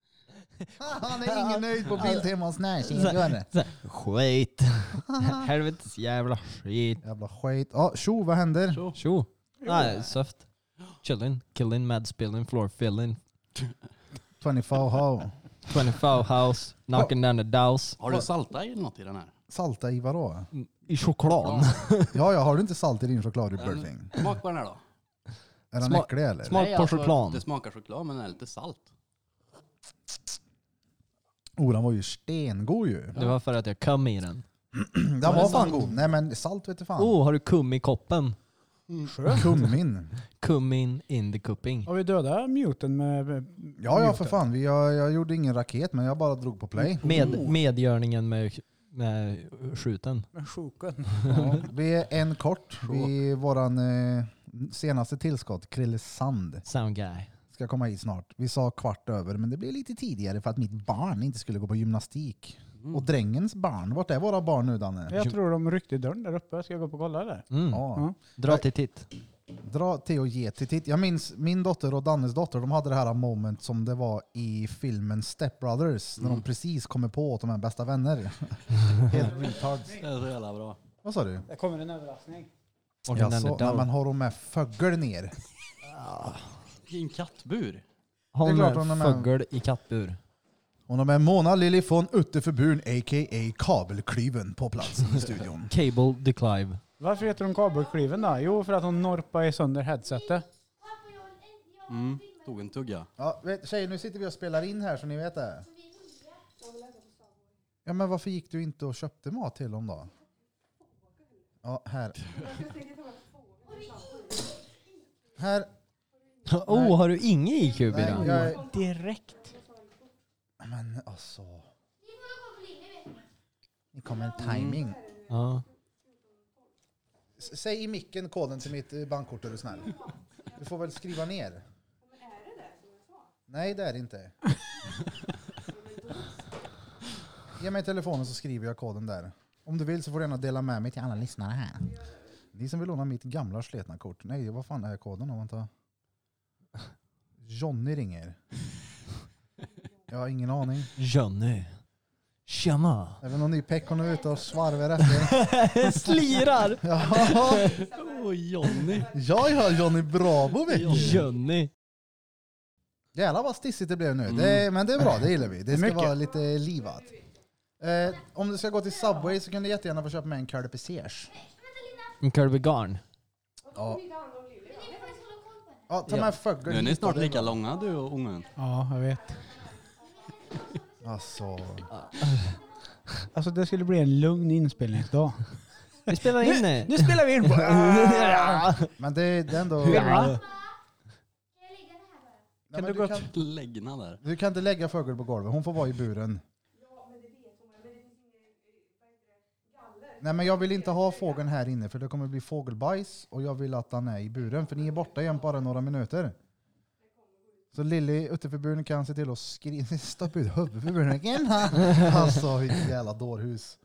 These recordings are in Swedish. Han är ingen nöjd på Biltemas närsinggörare. Så här, Skit. Helvetes jävla skit. Jävla skit. Ja, tjo, vad händer? Så. Tjo. Nej, söft. Chillin, killin, mad spillin, floor fillin. 24 ho. 25 house, knocking down the douse. Har du saltat i något i den här? Salta i vadå? I choklad. Ja, jag har du inte salt i din choklad i Mm. Burfing? Smak på den här då. alltså, Är den Smak- äcklig eller? smak- på choklad. Det smakar choklad men den är lite salt. Oh, den var ju stengod ju. Det var för att jag kom i den. Den var fan god. Nej men salt vet du fan. Oh, har du kum i koppen? Kummin. Kummin in the cupping. Har vi dödat muten med... Ja, ja för fan. Vi, jag, jag gjorde ingen raket men jag bara drog på play. Med, medgörningen med, med skjuten. Med sjoken. Ja, vi är en kort. Vi, våran eh, senaste tillskott, Krille Sand, Sound guy. ska komma hit snart. Vi sa kvart över men det blev lite tidigare för att mitt barn inte skulle gå på gymnastik. Och drängens barn. Vart är våra barn nu Danne? Mm. Jag tror de ryckte i dörren där uppe. Ska jag gå upp och kolla eller? Mm. Ja. Ja. Dra till titt. Dra till och ge till titt. Jag minns min dotter och Dannes dotter, de hade det här moment som det var i filmen Step Brothers, när Mm. de precis kommer på att de är bästa vänner. Helt retards. Det är så jävla bra. Vad sa du? Det kommer en överraskning. Jaså, nej, men har de med fögel ner? I en kattbur. det är Hon klart hon är är med. fågel i kattbur. Och de är Mona Lilly von Utterförbun, a.k.a. Kabelklyven, på plats i studion. Cable declive. Varför heter hon kabelklyven då? Jo, för att hon norpade sönder headsetet. Mm. Tog en tugga. Ja, vet, tjejer, nu sitter vi och spelar in här så ni vet det. Ja, men varför gick du inte och köpte mat till dem då? Ja, här. Här. Oh, har du ingen IQ Nej, Birra? jag, Direkt. Men alltså. Ni kommer en timing. Ja. S- Säg i micken koden till mitt eh, bankkort är du snäll. Du får väl skriva ner. Nej det är det inte. Ge mig telefonen så skriver jag koden där. Om du vill så får du gärna dela med mig till alla lyssnare här. Ni som vill låna mitt gamla sletna kort. Nej, vad fan är koden om man tar... Johnny ringer. Jag har ingen aning. Johnny. Tjena. Även om ni peckon är ute och svarvar efter. Slirar. Ja, Åh Johnny. jag hör Johnny Bravo vet du. Johnny. Jävlar vad stissigt det blev nu. Det, men det är bra, det gillar vi. Det ska Mycket. vara lite livat. Eh, om du ska gå till Subway så kan du jättegärna få köpa med en curly pesers. En Kirby Garn. Ja. ja, ta med Nu är fuggeln. ni snart lika långa du och ungen. Ja, jag vet. Alltså, Alltså det skulle bli en lugn inspelningsdag. Vi spelar in det. Nu spelar vi in! Ja. men det, det är ändå... Hurra. Nej, Kan men du du, gå kan, Läggna där. du kan inte lägga fuggeln på golvet, hon får vara i buren. Nej men jag vill inte ha fågeln här inne för det kommer bli fågelbajs och jag vill att han är i buren för ni är borta igen bara några minuter. Så Lilly utanför buren kan se till att skri- stoppa ut huvudet för buren igen. Alltså vilket jävla dårhus.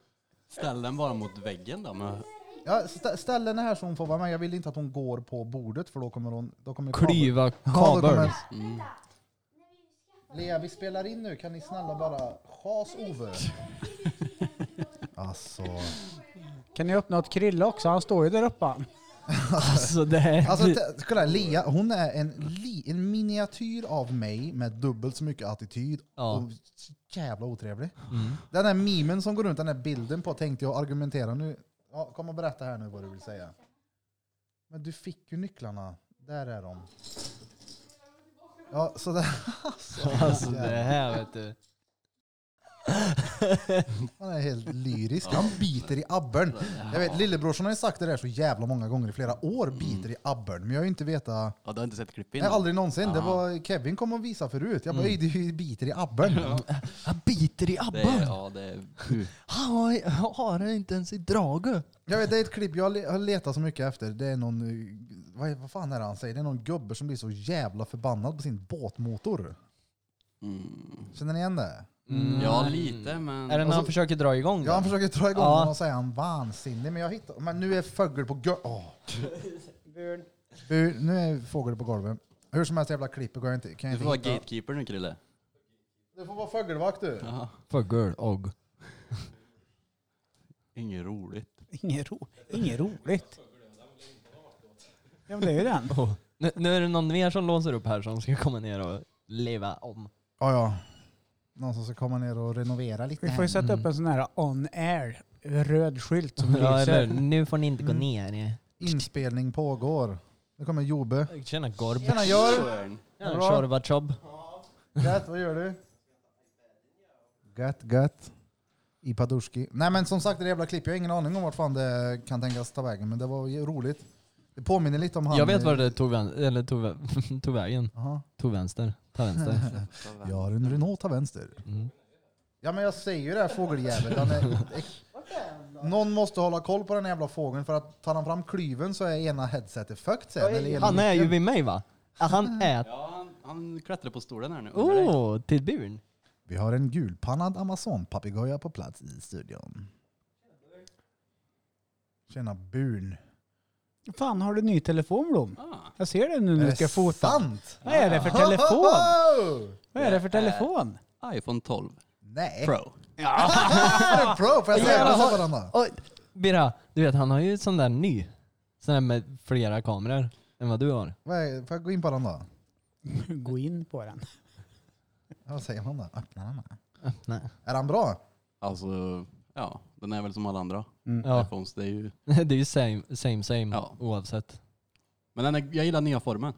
Ställ den bara mot väggen då. Med, Ja, stä- ställ den här så hon får vara med. Jag vill inte att hon går på bordet för då kommer hon... Då kommer kabel- Klyva Ja, då kabel. kommer- mm. Lea, vi spelar in nu. Kan ni snälla bara chas Ove? Alltså. Kan ni öppna åt Krille också? Han står ju där uppe. Alltså det här. alltså t- kolla, här, Lea, hon är en, li, en miniatyr av mig med dubbelt så mycket attityd Ja. Mm. och så jävla otrevlig. Den där mimen som går runt, den där bilden på, tänkte jag argumentera nu. Ja, kom och berätta här nu vad du vill säga. Men du fick ju nycklarna. Där är de. Ja, så där. Alltså, Alltså det här vet du. Han är helt lyrisk. Han biter i abborren. Jag vet, lillebrorsan har ju sagt det där så jävla många gånger i flera år. Biter i abborren. Men jag har ju inte vetat. Ja, du har inte sett klippet Nej, innan? aldrig någonsin. Det var Kevin kom och visade förut. Jag bara, "Ey, du biter i abborren. Han biter i Det är, abban. ja, det är, Han har, har det inte ens i drage. Jag vet, det är ett klipp jag har le- har letat så mycket efter. Det är någon, eh, vad, är- vad fan är det han säger? Det är någon gubbe som blir så jävla förbannad på sin båtmotor. mm. Känner ni igen det? ja, lite men... Alltså, Är det när han försöker dra igång Ja, han den? försöker dra igång Ja. den och säga han vansinnig. Men jag hittar, men nu är fågel på gö- åh. Nu är fågel på golvet. Hur som helst jävla klippet går jag inte, kan jag inte Du får vara hitta. gatekeeper nu Krille. Du får vara fågelvakt du. Ja. Fågel och. Inget roligt. Inget, ro, inget roligt. Ja men det är ju den. Oh. Nu, nu är det någon mer som låser upp här som ska komma ner och leva om. Ja, ja. Någon som ska komma ner och renovera lite. Vi får ju sätta upp en sån här on air röd skylt som Ja, eller, lyser. nu får ni inte gå Mm. ner. Inspelning pågår. Nu kommer Jobe. Tjena Gorb. Tjena Jörn! Sören. Tjena, bra. Tjorvachob. Gött, vad gör du? Gött, gött. I Paduski. Nej men som sagt det där jävla klippet, jag har ingen aning om vart fan det kan tänkas ta vägen men det var ju roligt. Det påminner lite om han... Jag vet var det tog, vän, eller tog, vä- tog vägen. Aha. Tog vänster. Ta vänster. Jag har en Renault ta vänster. Mm. Ja men jag säger ju det här fågeljäveln. Han är, någon måste hålla koll på den här jävla fågeln för att tar han fram klyven så är ena headsetet fucked sen. eller ena Han är ju micken. vid mig va? Ja, Han är... Ja, han, han klättrar på stolen här nu. under dig. Oh, till buren. Vi har en gulpannad amazonpapegoja på plats i studion. Tjena Burn. Fan har du ny telefon Blom? Ah, Jag ser det nu när Är du det ska fota. Sant? Vad är det för telefon? Ho, ho! Vad är det för telefon? iPhone 12 Nej. Pro. Är det pro? Får jag säga Jävlar, det har- till varandra? Och, Bira, du vet han har ju sån där ny. Sån där med flera kameror än vad du har. Vad är- Får jag gå in på den då? Gå in på den. Vad säger man då? Öppna den här. Nej. Är han bra? Alltså, ja, den är väl som alla andra Ja, iPhones. Det är ju, det är ju same same, same Ja. oavsett. men den är, jag gillar nya formen.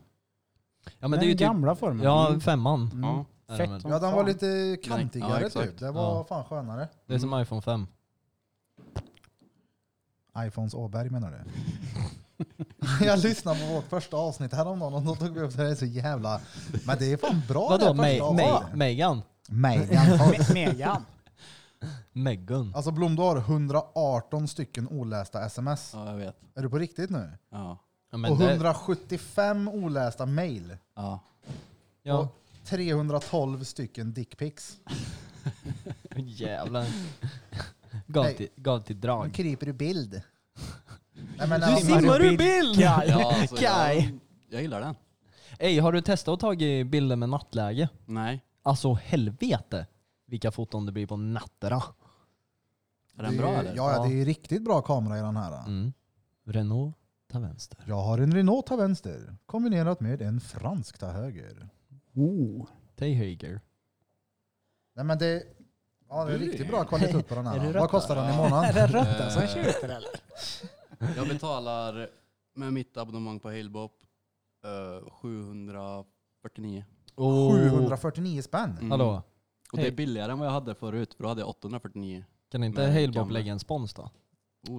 Ja, Men men det den är ju typ, gamla formen. ja, femman. Mm. Ja. är det Fett väl. som Ja, den var fan. lite Ja, kantigare exakt. typ. Det var Ja. fan skönare. Det är som iPhone 5. iPhones Åberg menar du? jag lyssnade på vårt första avsnitt häromdagen och då tog vi upp det här så jävla... Men det är fan bra det här Vadå, Me- första Me- avsnittet. Megan? Megan. Me- Megan. Megan. Alltså Blom, du har 118 stycken olästa sms. Ja, jag vet. Är du på riktigt nu? Ja. Ja, men och det- 175 olästa mail. Ja. Ja. 312 stycken dickpics. Jävlar. Gav Nej. till, gav till Nu drag. kryper du bild. Nej, men, Du alltså, simmar man- upp. ur bild? Ja, ja alltså, Kaj. Jag, jag gillar den. Ey, har du testat att ta bilder med nattläge? Nej. Alltså helvete vilka foton det blir på natterna. Är den bra det är- eller? Ja, det är riktigt bra kamera i den här. Mm. Renault, ta vänster. Jag har en Renault ta vänster kombinerat med en fransk ta höger. Oh. Ta höger. Nej, men det, ja, det är Du. riktigt bra kvalitet på den Är här. du Vad rött kostar den i Är alltså. månaden? det rötta som tjuter eller? Jag betalar med mitt abonnemang på Halebop eh, 749. Oh. 749 spänn. Mm. Hallå, Och det är billigare än vad jag hade förut, för då hade jag 849. kan inte Men Halebop gamla. lägga en spons då? Oh,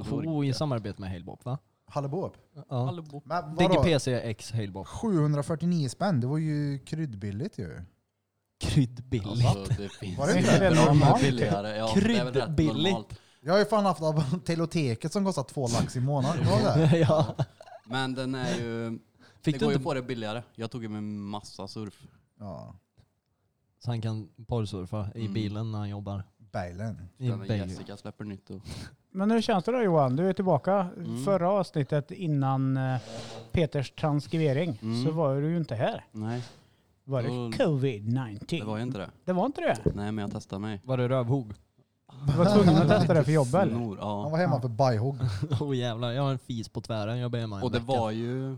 det var Oh, i riktigt. samarbete med Halebop va? Hallebop. Ja. Halebop. Men vadå? DigiPC X Halebop. 749 spänn, det var ju kryddbilligt ju. Kryddbilligt. Alltså, det finns Var det inte ju det bra normalt? med billigare. Ja, det är väl rätt Kryddbilligt. normalt. Jag har ju fan haft abon- Teloteket som kostar två lax i månaden. Kommer du ihåg det? ja. Men den är ju... Fick det du går ju att inte... få det billigare. Jag tog ju med massa surf. Ja, Så han kan porrsurfa i Mm. bilen när han jobbar. Bailen. I Den där Bale. Jessica släpper nytt. Och, Men hur känns det då Johan? Du är tillbaka. Förra avsnittet innan eh, Peters transkrivering Mm. så var du ju inte här. nej, Var det Mm. covid-19? det var ju inte det. Det var inte det? Nej, men jag testade mig. Var det rövhog? Du var tvungen att testa det för jobb eller? Snor, Han ja. var hemma för bajhugg. oh, jävlar, jag har en fis på tvären. Jag ber hemma en Och det vecka. var ju...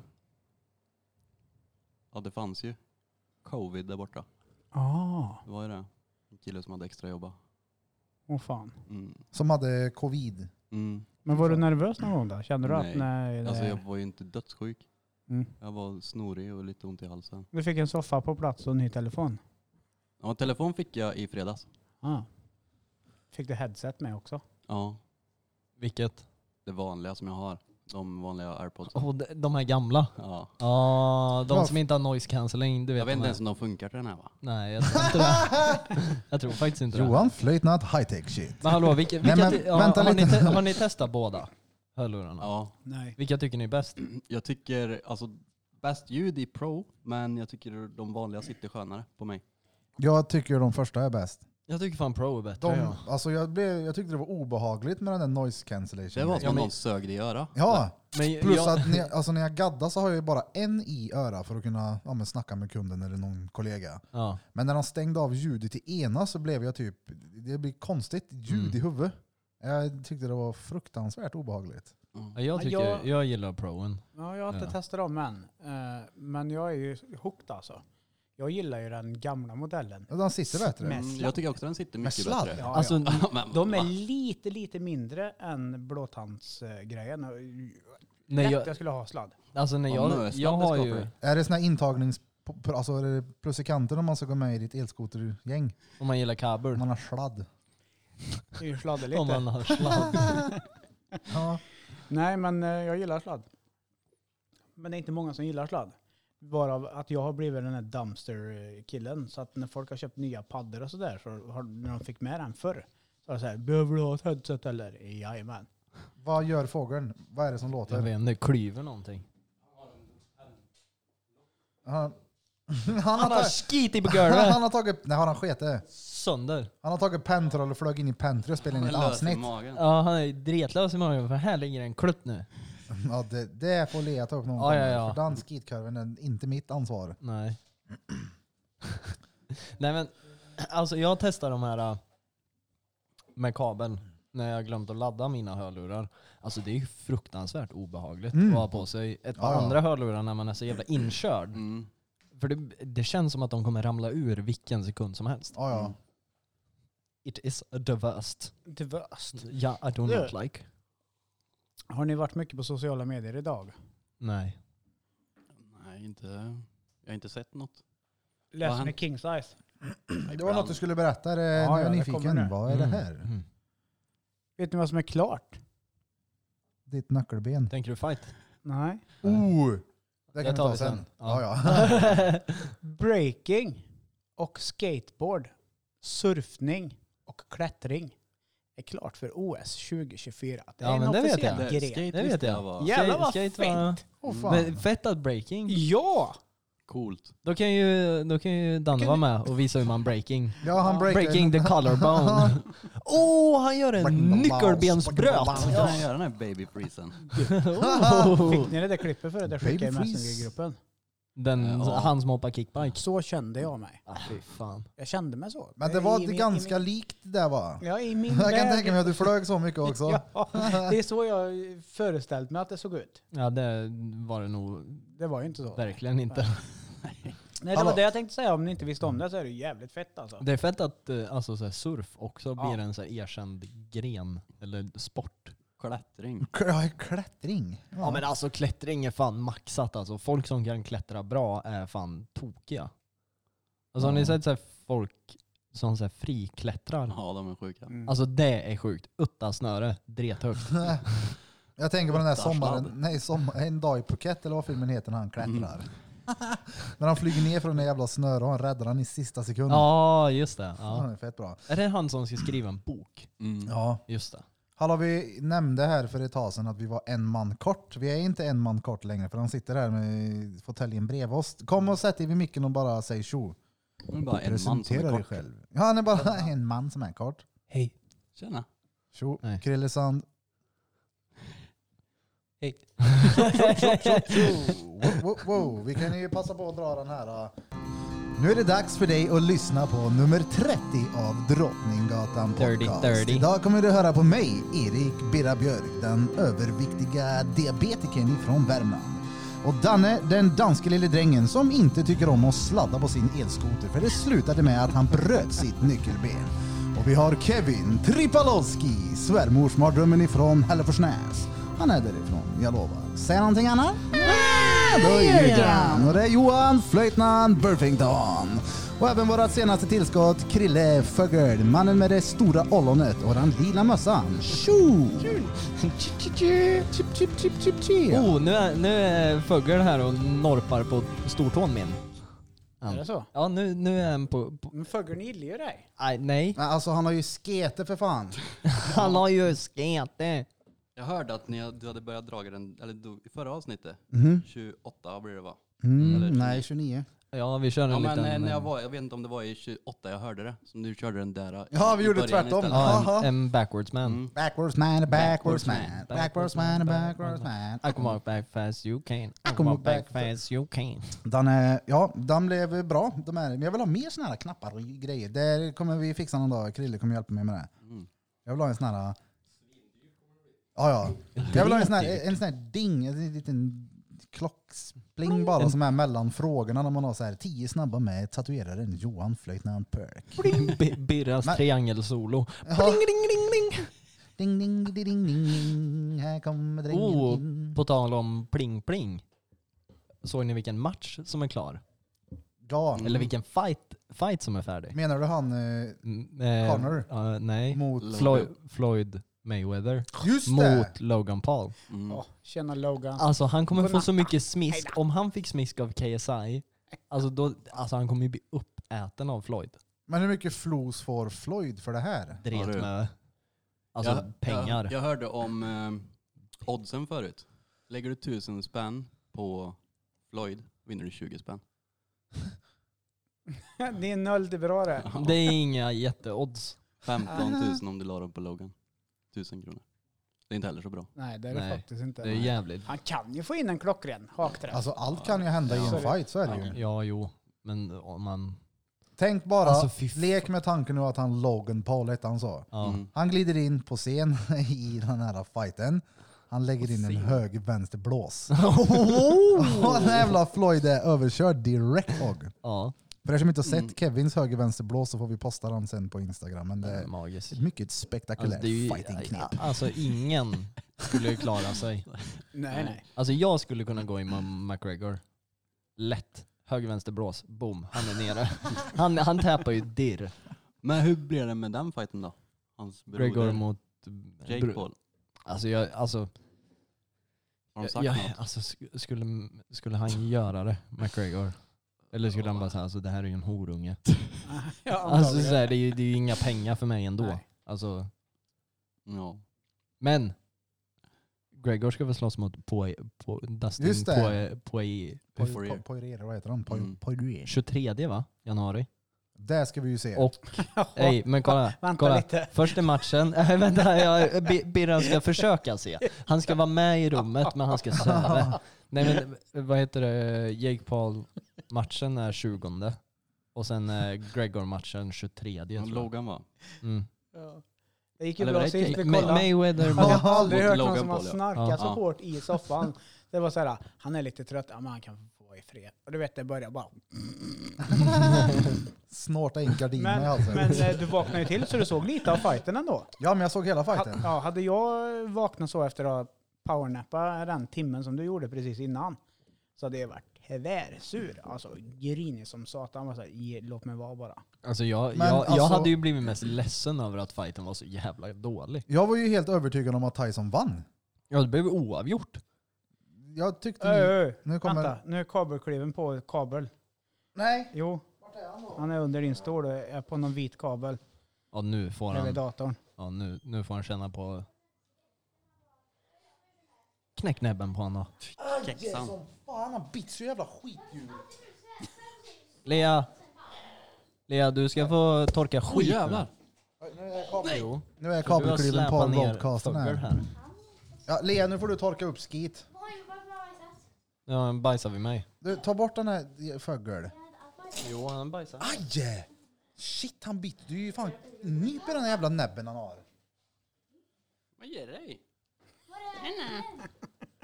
Ja, det fanns ju covid där borta. Ja, Det var ju det. En kille som hade extra jobba. Ah, åh fan. Mm. Som hade covid. Mm. Men var du nervös någon gång då? Kände du att Nej. nej? Det... Alltså jag var ju inte dödssjuk. Mm. Jag var snorig och lite ont i halsen. Du fick en soffa på plats och en ny telefon? Ja, telefon fick jag i fredags. Ja. Fick du headset med också? Ja, Vilket? det vanliga som jag har. De vanliga airpods. Oh, de, de här gamla. Ja. Ja, de Vad som inte har noise cancelling. Du vet Jag vet de inte här. ens om de funkar till den här va? Nej, jag tror inte det. Jag tror faktiskt inte det. Johan Flöjtnant high tech shit. Men hallå, vilka, Nej, vilka, men ty- ja, vänta har, ni lite. te, har ni testat båda hörlurarna? Ja. Nej. Vilka tycker ni är bäst? Jag tycker, alltså bäst ljud i pro, men jag tycker de vanliga sitter skönare på mig. Jag tycker de första är bäst. Jag tycker fan pro är bättre. De, ja. alltså jag, blev, jag tyckte det var obehagligt med den där noise cancellation. Det var som men- någon sög dig i örat. Ja, Men plus jag, att när jag, alltså när jag gaddar så har jag ju bara en i öra för att kunna ja, men snacka med kunden eller någon kollega. ja. Men när de stängde av ljudet i ena så blev jag typ, det blir konstigt ljud i huvudet. Jag tyckte det var fruktansvärt obehagligt. Ja, jag, Men tycker, jag- jag... gillar proen. Ja, jag har inte Ja. testat dem än. Eh, men jag är ju hooked alltså. Jag gillar ju den gamla modellen. Den sitter bättre. Med Mm, sladd. jag tycker också den sitter Med mycket sladd? bättre. Ja, Alltså, ja. Men, De är va? lite, lite mindre än blåtandsgrejen. Eh, när Lätt jag, jag, skulle ha sladd. alltså när Ja, nu är jag, jag sladdret har ju, skapare. Är det sån här intagnings... Alltså är det plus i kanten om man ska gå med i ditt elskotergäng? om man gillar kabel, Om Man har sladd. Det är ju sladder om lite. man har sladd. Ja. Nej, men eh, jag gillar sladd. Men det är inte många som gillar sladd. Varav att jag har blivit den här dumpster-killen. Så att när folk har köpt nya paddor och sådär, så har, när de fick med den förr, så var det såhär, behöver du ha ett headset eller? Jajamän. Vad gör fågeln? Vad är det som Jag låter? vet inte, klyver någonting. Han, han, har Han har tagit, skitit på han, golvet! har tagit... Nej, har han skitit? Sönder! Han har tagit pentroll och flög in i pentry och spelat in ett Den är lös i avsnitt. magen. Ja, han är dretlös i magen för här ligger en klutt nu. Ja, det, det får Lea ta upp någon Ja, gång, ja, ja. För den skitkurven är inte mitt ansvar. Nej. Nej men, alltså jag testar de här äh, med kabel när jag glömt att ladda mina hörlurar. Alltså det är ju fruktansvärt obehagligt Mm. att ha på sig ett par Ja, ja. andra hörlurar när man är så jävla inkörd. Mm. För det, det känns som att de kommer ramla ur vilken sekund som helst. Ja, ja. Mm. It is the worst. Det var öst. Ja, I do Det- not like. Har ni varit mycket på sociala medier idag? Nej. Nej, inte. Jag har inte sett något. Vad Läser han- ni Kings Eyes? Det var något du skulle berätta. Det, Ja, nu är ja, jag det kommer nu. nyfiken. Vad är det Mm, här? mm. Vet ni vad som är klart? Ditt nackelben. Tänker du fight? Nej. Oh! Det Det kan vi tar ta vi sen. sen. Ja, ja. Breaking och skateboard, surfning och klättring är klart för OS 2024. Det är Ja, en men det vet officiell jag. Det, gren. skate Det visste vet jag. jag var Jävlar vad Skate- fint! skate var- Åh Mm. fan. Men fett att breaking. Ja! coolt. Då kan ju, då kan ju Danne Kan vara med och visa hur man breaking. ja, han breakade- Breaking the collarbone. Åh, oh, han gör en Breaking the balls, nyckelbensbröt! breaking Kan jag göra den här baby freezen? Oh. Fick ni det där klippet förut? Jag Baby skickade i freeze. Messenger-gruppen. Den, Ja. Han som hoppar kickbike. Så kände jag mig. Ah, fy fan. Jag kände mig så. Men det I var min- i ganska min- likt det där va? Ja, i min Jag kan värld. tänka mig att du flög så mycket också. Ja, det är så jag föreställt mig att det såg ut. Ja, det var det nog Det var ju inte så. verkligen inte. Nej, det Hallå. var det jag tänkte säga. Om ni inte visste om det så är det jävligt fett alltså. Det är fett att eh, alltså, så här, surf också Ja. blir en så här, erkänd gren, eller sport. Klättring. K- ja, Klättring. Ja. men alltså klättring är fan maxat alltså. Folk som kan klättra bra är fan tokiga. Alltså har ni Ja. sett så här, folk som så här, friklättrar? Ja, de är sjuka. Mm. Alltså det är sjukt. Utta snöre, drethögt. Jag tänker på den där Åtta sommaren, sladd. nej, sommar, en dag i Phuket eller vad filmen heter när han klättrar. Mm. när han flyger ner från den jävla snöret och han räddar han i sista sekunden. Ja, just det. Ja. det är fett bra. Är det han som ska skriva en bok? Mm. Ja. Just det. Hallå, vi nämnde här för ett tag sedan att vi var en man kort. Vi är inte en man kort längre för han sitter här med fåtöljen bredvid oss. Kom och sätt dig vid micken och bara säg tjo. Det är bara en man som Presentera är dig kort. själv. Ja, han är bara en man som är kort. Hej. Tjena. Tjo, Nej. Krille Sand. Hej. Wow, wow, wow. Vi kan ju passa på att dra den här. ah. Nu är det dags för dig att lyssna på nummer 30 av Drottninggatan Podcast. 30, 30. Idag kommer du höra på mig, Erik Birra Björk, den överviktiga diabetikern från Värmland. Och Danne, den danske lille drängen som inte tycker om att sladda på sin elskoter för det slutade med att han bröt sitt nyckelben. Och vi har Kevin Tripalowski, svärmorsmardrömmen ifrån Hälleforsnäs. Han är därifrån, jag lovar. Säger han någonting annat? Nej, då ljuger han. Och det är Johan Flöjtnant Burfington. Och även vårt senaste tillskott, Krille Fögel, mannen med det stora ollonet och den lila mössan. Tjo! Chip, chip, chip, chip, chip. Oh, nu är, nu är Fögel här och norpar på stortån min. Är det så? Ja, nu, nu är han på... på Men fågeln gillar ju dig. nej, nej, Men alltså han har ju skete för fan. han har ju skete. Jag hörde att ni, hade- du hade börjat dra den, eller du, i förra avsnitt, 28 blir det va? Mhm. Mm, Eller- nej, 29. Ja, vi kör en Ja, men liten... eh, när jag, eh, var, jag vet inte om det var i 28 jag hörde det, som du körde den där. eh, Ja, vi i gjorde början tvärtom. istället. ja, Haha. eh, en, en backwards man. Mm. Backwards man, backwards Backwards man, man, backwards backwards man, man, backwards man. I can walk back fast you can. I can can walk walk back back fa- fast you can. Den, är- ja, den blev bra. De här. Men jag vill ha mer såna här knappar och grejer. Det kommer vi fixa någon dag. Krille kommer hjälpa mig med det. Mm. Jag vill ha en sån här... Ja, ja. Jag vill ha en sån här, en sån här ding, en liten klockspling bara som är mellan frågorna när man har så här tio snabba med tatueraren Johan Flöjtnant Perk. B- Birras Men- triangelsolo. Ja. Ding, ding, ding, ding. Ding, ding, ding, ding, ding. Här kommer drängen. Oh, in. På tal om pling pling. Såg ni vilken match som är klar? Ja. Mm. Eller vilken fight, fight som är färdig? Menar du han eh, Mm, eh, Connor? ja, nej. mot... Logan. Floyd, Floyd Mayweather Just det! mot Logan Paul. Mm. Åh, tjena Logan. Alltså han kommer Godnatt. få så mycket smisk. Om han fick smisk av KSI, alltså, då, alltså han kommer ju bli uppäten av Floyd. Men hur mycket flos får Floyd för det här? Dret du. med alltså, Jag- pengar. Jag, jag hörde om eh, oddsen förut. Lägger du tusen spänn på Floyd vinner du 20 spänn. Ah. det är noll, det är bra det. Det är inga jätteodds. 15 000 om du la dem på Logan. 1000 kronor. Det är inte heller så bra. Nej, det är det Nej, faktiskt inte. Det är jävligt. Han kan ju få in en klockren hakträ. Alltså allt kan ju hända i Så en är det. fight, så är det ju. Ja, jo. Men om man... Tänk bara, Alltså, fy fan. lek med tanken nu att han Logan Paul hette han så. Ja. Mm. Han glider in på scen i den här fighten. Han lägger in en höger vänster blås. Oh! Och Oh, den här jävla Floyd är överkörd direkt. Hog. ja. För er som inte har sett Mm. Kevins höger vänster blås så får vi posta den sen på Instagram. Men det är Magiskt. ett mycket spektakulärt Mm. Alltså, det är ju- fightingknep. alltså ingen skulle ju klara sig. Nej, nej. Alltså jag skulle kunna gå in med McGregor. Lätt. Höger, vänster, brås. Boom. Han är nere. Han, han tappar ju dirr. Men hur blir det med den fighten då? Hans Gregor broder mot... eh, Jake Paul. Alltså jag... Alltså, Har de sagt jag, jag, något? alltså sk- skulle, skulle han göra det, McGregor? Eller skulle han bara säga alltså det här är ju en horunge. Ja, Alltså antagligen. så här, det, är ju, det är ju inga pengar för mig ändå. Nej. Alltså, Ja. men Gregor ska väl slåss mot Poe, Poe, Dustin Just det. Poe, Poe, Poi- Poirier. po- Poirier, vad heter han? Poi- Mm. Poirier. 23 va? januari. Det ska vi ju se. Och nej, men kolla. Vänta kolla. lite. Först är matchen. Äh, vänta, jag, B- Birran ska försöka se. Han ska vara med i rummet men han ska sova. Nej men vad heter det? Jake Paul-matchen är 20. Och sen eh, Gregor-matchen 23. tror Han jag. Logan va? Mm. Ja. Det gick ju Eller bra var det sist, vi May- kollade. Mayweather Jag mot har aldrig Mot hört någon Logan som har Paul, ja. snarkat så Ja. hårt i soffan. Det var så här, han är lite trött, ja, men han kan få vara i fred. Och du vet, det börjar bara... Snorta in gardinerna i Men, halsen. men eh, du vaknade ju till så du såg lite av fighten ändå. Ja, men jag såg hela Ha, fighten. ja, hade jag vaknat så efter att ha powernappat den timmen som du gjorde precis innan så hade jag varit tvärsur. Alltså grinig som satan. Var så här, "Ge- låt mig vara bara. Alltså jag, Men jag, alltså- jag hade ju blivit mest ledsen över att fighten var så jävla dålig. Jag var ju helt övertygad om att Tyson vann. Ja, det blev oavgjort. Jag tyckte... Ö, ö, Nu kommer- Vänta, nu är kabelkliven på kabel. Nej. Jo, han är under din stol och är på någon vit kabel Ja, nu får bredvid han, datorn. ja, nu, nu får han känna på... Knäck näbben på honom. Kexan. Fan, han bits ju jävla skitdjur. Lea! Lea, du ska få torka skit jävlar. Jo. Nu är För du har kabelklyven på släpat ner broadcasten fuggar här. här. Ja, Lea, nu får du torka upp skit. Oj, vad bra Isas. Ja, han bajsar vid mig. Du, ta bort den här fögel. Jo, han bajsar. Aj! Shit, han bit. Du är ju fan nyper den här jävla näbben han har. Vad ger dig?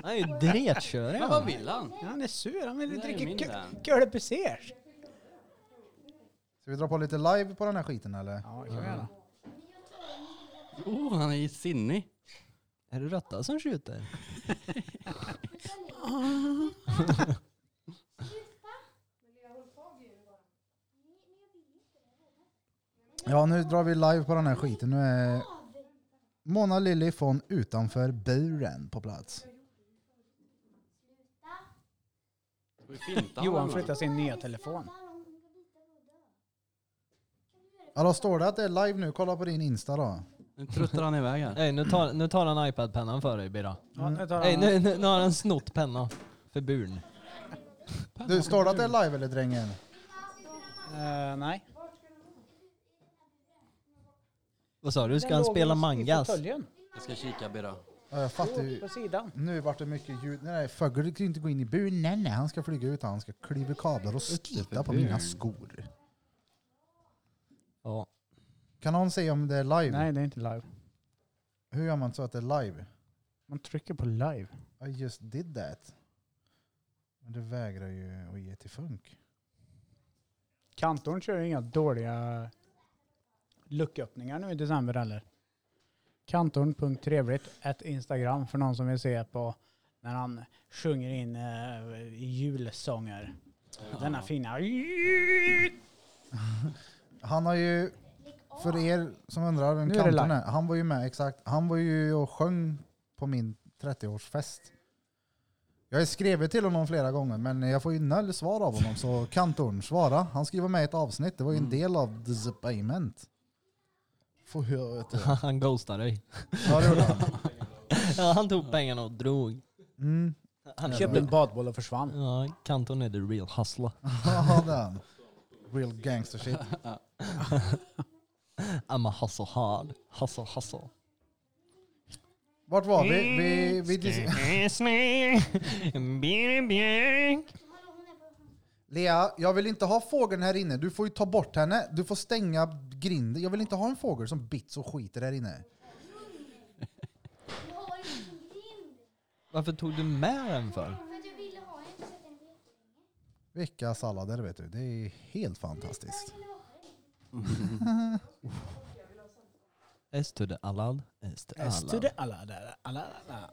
Han är ju dretkörig. Men vad vill han? Ja, han är sur, han vill Det där är min dricka vän. kölbesers. Ska vi dra på lite live på den här skiten eller? Ja, det kan vi göra. Oh, han är ju sinnig. Är det Rötta som skjuter? Ja, nu drar vi live på den här skiten. Nu är Mona Lilly från utanför buren på plats. Vi fintar Johan honom. flyttar sin nya telefon. Ja, då står det att det är live nu. Kolla på din Insta då. Nu tröttar han iväg här. Nej, nu tar, nu tar han iPad-pennan för dig Birra. Ja, nu tar Nej, han, nu, nu, nu har han snott pennan. För burn. penna. Du, står det att det är live eller drängen? Eh, nej. Vad sa du? Ska han Den låg spela i- i mangas? fåtöljen. Jag ska kika Birra. Ja, jag fattar Jo, ju. På sidan. Nu vart det mycket ljud. Nej, nej, fågel kan ju inte gå in i bur. Nej, nej, han ska flyga ut. Han ska klyva kablar och skita på bur. mina skor. Ja. Kan någon säga om det är live? Nej, det är inte live. Hur gör man så att det är live? Man trycker på live. I just did that. Men det vägrar ju att ge till funk. Kantorn kör ju inga dåliga lucköppningar nu i december heller. Kantorn.trevligt at Instagram för någon som vill se på när han sjunger in eh, julsånger. Denna fina... Han har ju, för er som undrar vem Nu är det kantorn live. är, han var ju med exakt. Han var ju och sjöng på min 30-årsfest. Jag har skrivit till honom flera gånger men jag får ju noll svar av honom så kantorn, svara. Han ska ju vara med i ett avsnitt, det var ju en del av the payment. Får jag veta. Han ghostade dig. Ja, det gjorde han. Ja, han tog pengarna och drog. Mm. Han Köpte en badboll och försvann. Ja, Kanton är the real hustler. Ja, det är han. Real gangster shit. I'm a hustle hard. Hustle hustle. Vart var vi? vi, vi dis- Lea, jag vill inte ha fågeln här inne. Du får ju ta bort henne. Du får stänga grinden. Jag vill inte ha en fågel som bits och skiter här inne. Jag har ingen grind. Varför tog du med den för? För att jag ville ha en så att den blev jättelänge. Vilka sallader vet du. Det är helt fantastiskt. S to the Allad. S to Alla. Allad. Alla, alla, alla, alla.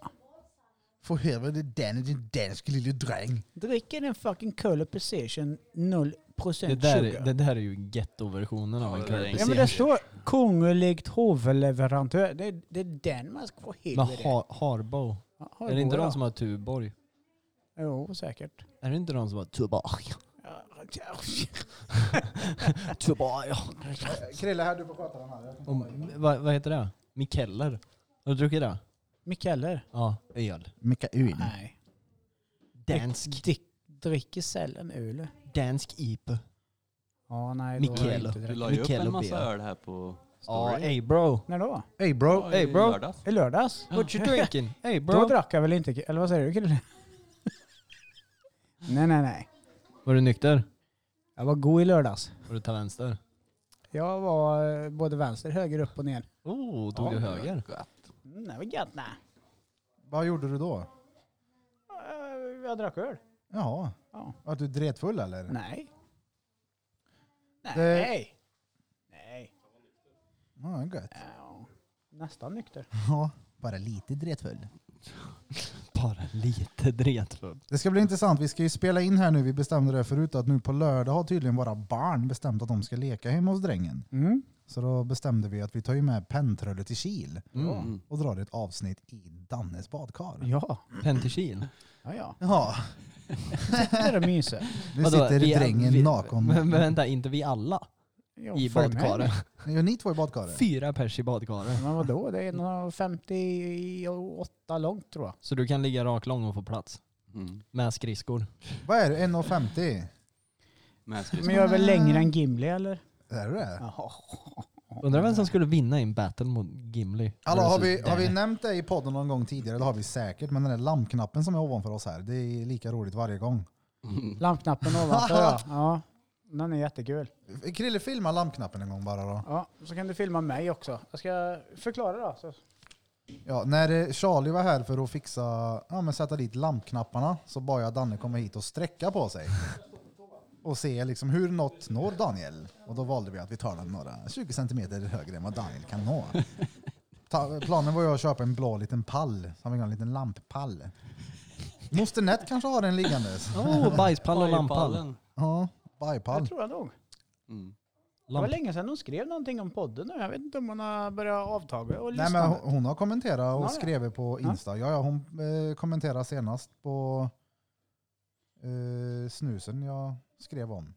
Få höra det den din danske lille dräng. Dricker en fucking Cola Precision 0% Det sugar. där, är- det där är ju gettoversionen av en Ja, det är curly det. ja, men seal. det står konungligt hovleverantör. Det, det är den man ska få Men heder i. har, Harbo, Ja, har är det inte båda. de som har Tuborg? Jo, säkert. Är det inte de som har Tuborg? Tuborg. Krille här, du får sköta den här. Och, vad, vad heter det? Mikeller? Har du druckit det? Mikaeler? Ja, öl. Mm. Mikael. Nej. Dansk, Dick, dricker sällan öl. dansk IPA. Ja, nej. då är det Mikaeler. inte Du direkt. la ju upp Mikael en och massa Bea. öl här på Ja, story. ey bro. När då? Hey bro. Ja, ey, i bro. lördags. I lördags? What you drinking? Hey Då bro. drack jag väl inte, eller vad säger du kille? nej, nej, nej. Var du nykter? Jag var god i lördags. Var du ta vänster? Jag var eh, både vänster, höger, upp och ner. Oh, tog du Ja, höger? gött. Mm, det var gött nej. Vad gjorde du då? Eh, Jag drack öl. Jaha. Ja. Att du dret full eller? Nej. Nej. Det- Nej. Nej. Ja, gött. Ja, Nästan nykter. Ja, bara lite dretfull. Bara lite dretfull. Det ska bli intressant. Vi ska ju spela in här nu. Vi bestämde det förut att nu på lördag har tydligen våra barn bestämt att de ska leka hemma hos drängen. Mm. Så då bestämde vi att vi tar ju med pentrullet till Kil Mm. och drar ett avsnitt i Dannes badkar. Ja. Penterkil. Ja, ja. Ja, Det är det myset. nu Vadå, sitter vi- drängen vi- naken. Men men vänta, inte vi alla Ja, i för mig. badkaret? Ja, ni två i badkaret? Fyra pers i badkaret. Men vadå, det är 1,58 långt tror jag. Så du kan ligga rak lång och få plats. Mm. Med skridskor. Vad är du? 1,50? Med Men jag är väl längre än Gimli eller? Är du det? Jaha. Undrar vem som skulle vinna i en battle mot Gimli. Alla, har, vi, versus har vi Danny. nämnt det i podden någon gång tidigare? Det har vi säkert, men den där lampknappen som är ovanför oss här, det är lika roligt varje gång. Lampknappen ovanför ja. ja. Den är jättekul. Krille, filma lampknappen en gång bara då. Ja, så kan du filma mig också. Jag ska förklara då. Så. Ja, när eh, Charlie var här för att fixa, ja, men sätta dit lampknapparna så bad jag Danne komma hit och sträcka på sig. Och se liksom hur något når Daniel. Och då valde vi att vi tar den några 20 centimeter högre än vad Daniel kan nå. Ta, planen var ju att köpa en blå liten pall, som en liten lamppall. Moster Nett kanske har en liggandes. Oh, bajspall och lamppall. Pajpallen. Ja, Jag bajpall. tror jag nog. Mm. Det var Lamp. länge sedan hon skrev någonting om podden nu. Jag vet inte om hon har börjat avtaga och lyssna. Nej, men hon, hon har kommenterat Ja, och ja. skrivit på Ja. Insta. Ja, ja, hon eh, kommenterade senast på eh, snusen jag skrev om.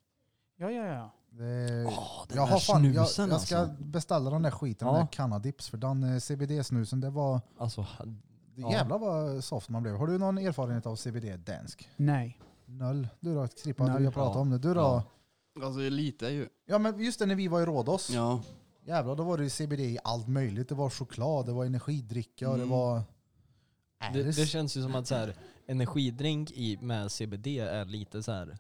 Ja, ja, ja. Det, Åh, den jag, där har fan, jag, jag ska snusen alltså. beställa den där skiten, den Ja. där Canadips. För den eh, CBD-snusen, det var... Alltså, det Ja. Jävlar vad soft man blev. Har du någon erfarenhet av CBD dansk? Nej. Noll. Du då Krippa, Noll. du jag pratade Ja. om det. Du då? Ja. Alltså lite är ju. Ja men just det, när vi var i Rhodos. Ja. Jävlar, då var det ju CBD i allt möjligt. Det var choklad, det var energidricka och det Mm. var... Det, Äris. det känns ju som att så här, energidrink i, med CBD är lite så här.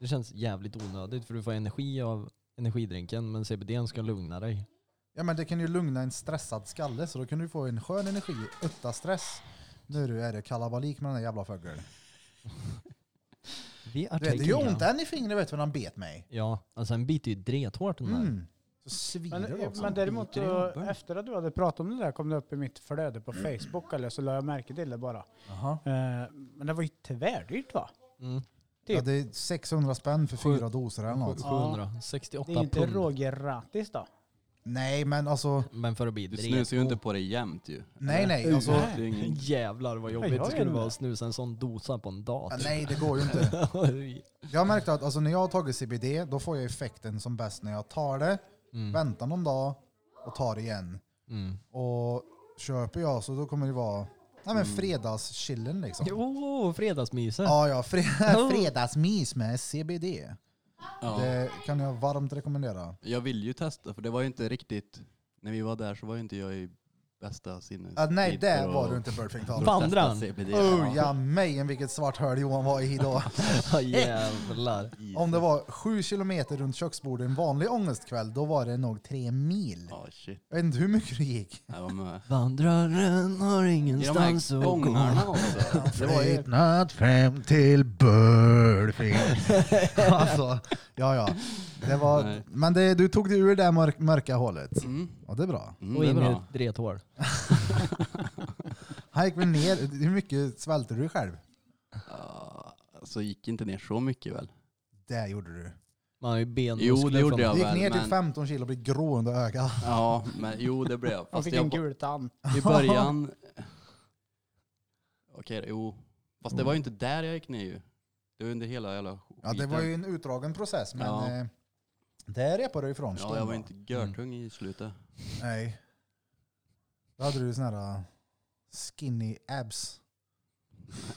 Det känns jävligt onödigt för du får energi av energidrinken men CBD ska lugna dig. Ja men det kan ju lugna en stressad skalle så då kan du få en skön energi utan stress. Nu du, är det kalabalik med den där jävla fuggeln. Vi är Du vet, Det gör taking ont now. än i fingret vet du när han bet mig. Ja, alltså en biter ju drethårt den där. Mm. Så svider det Men, också. men däremot, Biter i så, jobben. efter att du hade pratat om det där kom det upp i mitt flöde på Facebook eller så la jag märke till det bara. Jaha. Eh, Men det var ju tvärdyrt va? Mm. Ja, det är 600 spänn för Sju- fyra doser eller något. 700, Det 68 är ju inte pund. rågratis då. Nej men alltså, Men för att bli Du snusar ju inte dretå. på det jämt ju. nej nej. Alltså, Det är ju ingen... Jävlar vad Jag jobbigt gör det skulle inte vara det. att snusa en sån dosa på en dag. ja, typ. nej det går ju inte. Jag har märkt att alltså, när jag har tagit CBD, då får jag effekten som bäst när jag tar det, mm. väntar någon dag och tar det igen. Mm. Och köper jag så då kommer det vara nej, men fredagschillen liksom. Jo, fredagsmyset. Ja, ja. Fre Oh. fredagsmys med CBD. Ja. Det kan jag varmt rekommendera. Jag vill ju testa för det var ju inte riktigt, när vi var där så var ju inte jag i bästa sinnes. Ah, nej, tid det för att- var du inte Burfing för Tal. att Fan, testa brann. CBD. Oh, ja, mejen vilket svart hål Johan var i då. Ja, jävlar. Om det var sju kilometer runt köksbordet en vanlig ångestkväll, då var det nog tre mil. Ja, shit. Jag vet inte hur mycket det gick. Jag var med. Vandraren har I de här gångarna också. Det var ju... Flytnat fem till Burfing. alltså, ja, ja. Det var, Nej. men det, du tog dig ur det där mörk, mörka hålet. Mm. Ja, det är bra. Mm, Och det är in i bra. ett drethål. Han gick väl ner. Hur mycket svälter du själv? Ja, Så gick inte ner så mycket väl? Det gjorde du. Man har ju benmuskler Jo, det gjorde från- jag Du gick väl. ner till Men, 15 kilo och blev grå under ögat. ja, men jo det blev jag. Man Fast fick en jag, gul tand. I början... Okej, jo. Fast det var ju inte där jag gick ner ju. Det var under hela jävla skiten. Ja, det var ju en utdragen process, men Ja. eh, det repade du ifrån. Ja, jag var inte görtung i slutet. Nej. Då hade du såna här eh, skinny abs.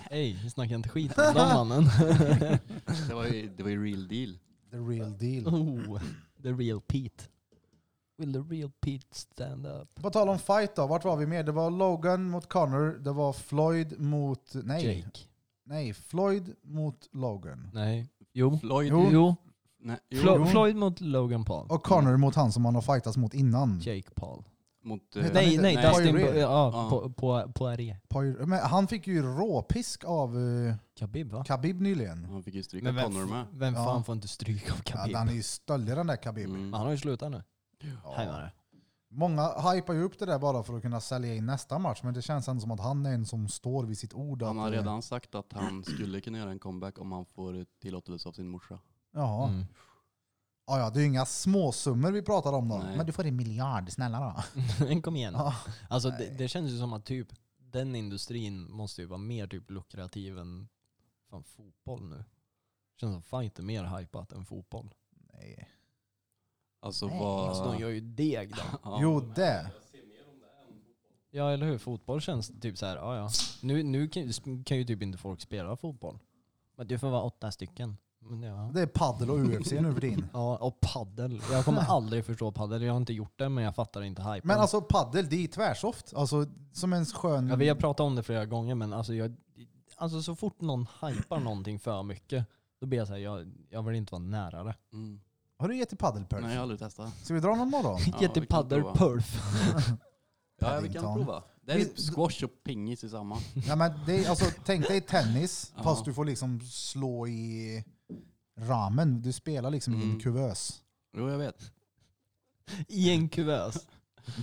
Ej, vi snackar inte skit om den mannen. Det var ju, det var ju real deal. The real deal. oh, the real Pete. Will the real Pete stand up? På tal om fight då, vart var vi mer? Det var Logan mot Connor, det var Floyd mot... Nej, Jake. nej Floyd mot Logan. Nej. Jo. Floyd... Jo. Nej, jo, Flo- Floyd mot Logan Paul. Och Connor mot han som han har fightats mot innan. Jake Paul. mot... Nej, eh, Nej, inte- nej, nej, Dustin Poirier. Po- ja, Ja. på, på, på Poir- Men han fick ju råpisk av eh, Khabib va? Khabib nyligen. Han fick ju stryka vem, Connor med. vem Ja. fan får inte stryk av Khabib? Ja, han är ju stöldig den där Khabib. Mm. Han har ju slutat nu. Ja. Ja. Många hypar ju upp det där bara för att kunna sälja in nästa match, men det känns ändå som att han är en som står vid sitt ord. Han att, har eh, redan sagt att han skulle kunna göra en comeback om han får tillåtelse av sin morsa. Ja. Mm. Ja, ja, det är ju inga småsummor vi pratar om då. Nej. Men du får en miljard, snälla då. Kom igen. Ja. Alltså det, Nej. det känns ju som att typ den industrin måste ju vara mer typ lukrativ än fan, fotboll nu. Känns som fight är mer hypat än fotboll. Nej. Alltså Nej. vad... Alltså de gör ju deg då. Ja. Jo, det. Ja eller hur, fotboll känns typ så här, ja ja. Nu, nu kan, ju- sp- kan ju typ inte folk spela fotboll. Men du får vara åtta stycken. Men ja. Det är paddel och UFC nu för din. ja, och paddel. Jag kommer aldrig förstå paddel. Jag har inte gjort det men jag fattar inte hypen. Men alltså paddel, det är tvärsoft. Alltså som en skön... Ja, vi har pratat om det flera gånger men alltså, jag, alltså så fort någon hypar någonting för mycket då blir jag såhär, jag, jag vill inte vara nära det. Mm. Har du gett i paddelpurf? Nej, jag har aldrig testat. Ska vi dra någon morgon? Ja, vi kan Jättepaddel prova. perf. Ja, vi kan Paddington. prova. Det är Vi- typ squash och pingis i samma. ja, men det är, alltså, tänk dig tennis, Ja. fast du får liksom slå i ramen. Du spelar liksom i en Mm. kuvös. Jo, jag vet. I en kuvös.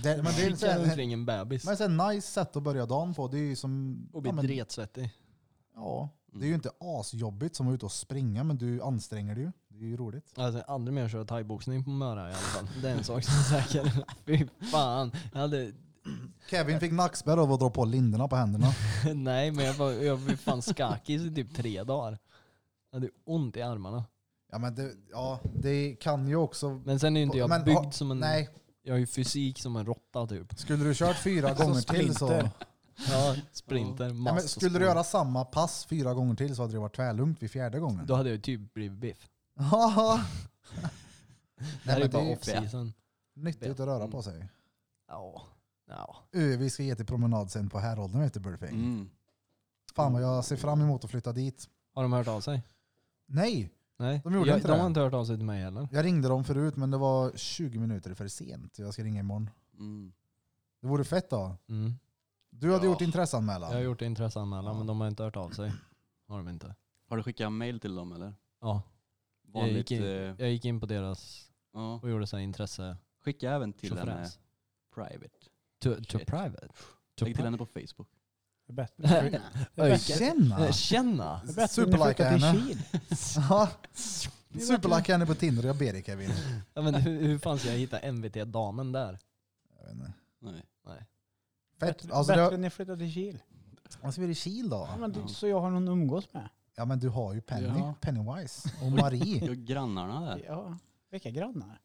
Det, men det är en sån Skickar här- omkring en bebis. Men ett nice sätt att börja dagen på. Det är ju som... Och Mm. blir ja, men, dretsvettig. ja, det är ju inte asjobbigt som att vara ute och springa, men du anstränger dig ju. Det är ju roligt. Alltså aldrig mer köra thaiboxning på Möra i alla fall. Det är en sak som är säker. Fy fan. Jag hade, Kevin fick nackspärr av att dra på linderna på händerna. nej men jag var, jag blev fan skakis i typ tre dagar. Jag hade ont i armarna. Ja, men det, ja, det kan ju också... Men sen är ju inte jag Men, byggd ja, som en... Nej, Jag har ju fysik som en råtta typ. skulle du kört fyra gånger till så... splinter. Ja, sprinter, mast Nej, men Alltså, och skulle du sprint. göra samma pass fyra gånger till så hade det varit tvärlugnt vid fjärde gången. Då hade jag ju typ blivit biff. Ja. Det men här är det ju är bara Mm. ju off-season. Nyttigt att röra på sig. Ja. ja. Ö, vi ska ge till promenad sen på Häråldern vet du Burfing. Mm. Fan vad jag ser fram emot att flytta dit. Har de hört av sig? Nej, Nej, De gjorde jag, inte de det. har inte hört av sig till mig heller. jag ringde dem förut men det var 20 minuter för sent. Jag ska ringa imorgon. Mm. Det vore fett då. Mm. Du hade Ja. gjort intresseanmälan. Jag har gjort intresseanmälan men de har inte hört av sig. Har de inte. Har du skickat mail till dem eller? Ja. Jag Vanligt, gick, in, eh, jag gick in på deras ja. och gjorde så här intresse Skicka även till henne chaufförs. private. To, to Shit. private? To Lägg till henne på Facebook. Det är bättre. private? Oj, Tjena! Eh, Tjena! Det är bättre än att Superlike flytta till henne. Kil. Ja. Superlike henne på Tinder och jag ber dig Kevin. Ja, men hur, hur fan ska jag hitta MVT-damen där? Jag vet inte. Nej. Fett. Bättre- Alltså, Bättre det, än att flytta till Kil. vad ska vi göra i Kil då? Ja, men det- Så jag har någon att umgås med. Ja men du har ju Penny, Ja. Pennywise och Marie. Och grannarna där. Ja. Vilka grannar?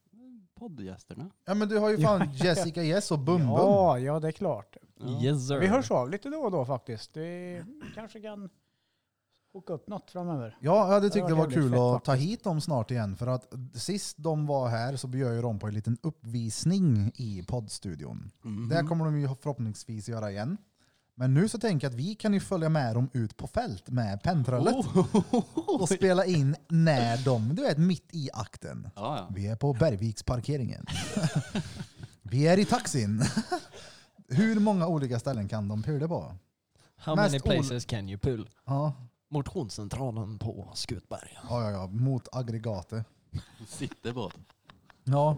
Poddgästerna. Ja men du har ju fan Jessica Yes och Bum Bum. Ja, ja, det är klart. Ja. Yes sir. Vi hörs av lite då och då faktiskt. Vi kanske kan hooka upp något framöver. Ja, jag hade Det tyckt var det var jävligt kul fett att ta hit dem snart igen för att sist de var här så bjöd ju de på en liten uppvisning i poddstudion. Mhm. Det kommer de ju förhoppningsvis göra igen. Men nu så tänker jag att vi kan ju följa med dem ut på fält med penntrallet och spela in när de, du vet mitt i akten. Ja, ja. Vi är på Bergviksparkeringen. Vi är i taxin. Hur många olika ställen kan de pula på? How Mest many ol- places can you pull? Ja, Motionscentralen på Skutberga. ja, ja, ja. mot aggregatet. Sitter på. Ja.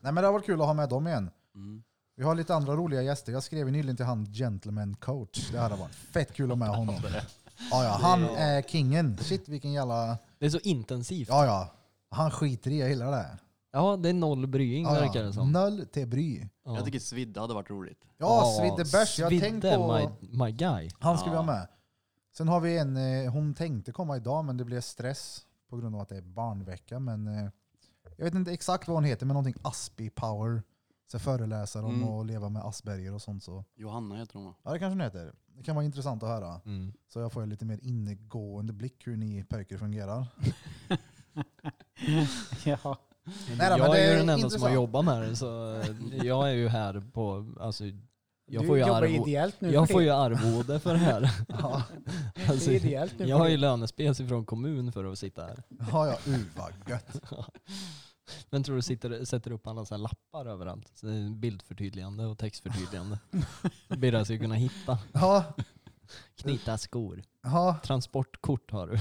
Nej, men det har varit kul att ha med dem igen. Mm. Vi har lite andra roliga gäster. Jag skrev ju nyligen till han Gentleman Coach. Det hade varit fett kul att ha med honom. Ja, ja, han är kingen. Shit vilken jävla... Det är så intensivt. Ja, ja. Han skiter i, jag gillar det. Ja, det är noll brying Ja, Mm. verkar ja. det som. Noll till bry. Ja. Jag tycker svidda hade varit roligt. Ja, Ja, Svidde Bärs. Jag har tänkt Svidde, på... my, my guy. Mm. Han ska vi ha Ja. med. Sen har vi en, eh, hon tänkte komma idag men det blev stress på grund av att det är barnvecka. Men eh, jag vet inte exakt vad hon heter men någonting Aspi Power. Så föreläsar om Mm. att leva med Asperger och sånt. Så. Johanna heter hon va? Ja det kanske hon heter. Det kan vara intressant att höra. Mm. Så jag får en lite mer innegående blick hur ni pojkar fungerar. Mm. Ja. Nej, då, men jag det är är ju den enda som intressant. har jobbat med det så eh, jag är ju här på, alltså, jag får ju, du jobbar arvo, ideellt nu. jag för får det. ju arvode för det här. Ja, Alltså, det är ideellt nu. jag för har ju det. lönespec ifrån kommun för att sitta här. ja, ja uh, vad gött. Men tror du sitter, sätter upp alla så här lappar överallt? Så det är Bildförtydligande och textförtydligande. Då blir det alltså kunna hitta. Ja, Knyta skor. ja, Transportkort har du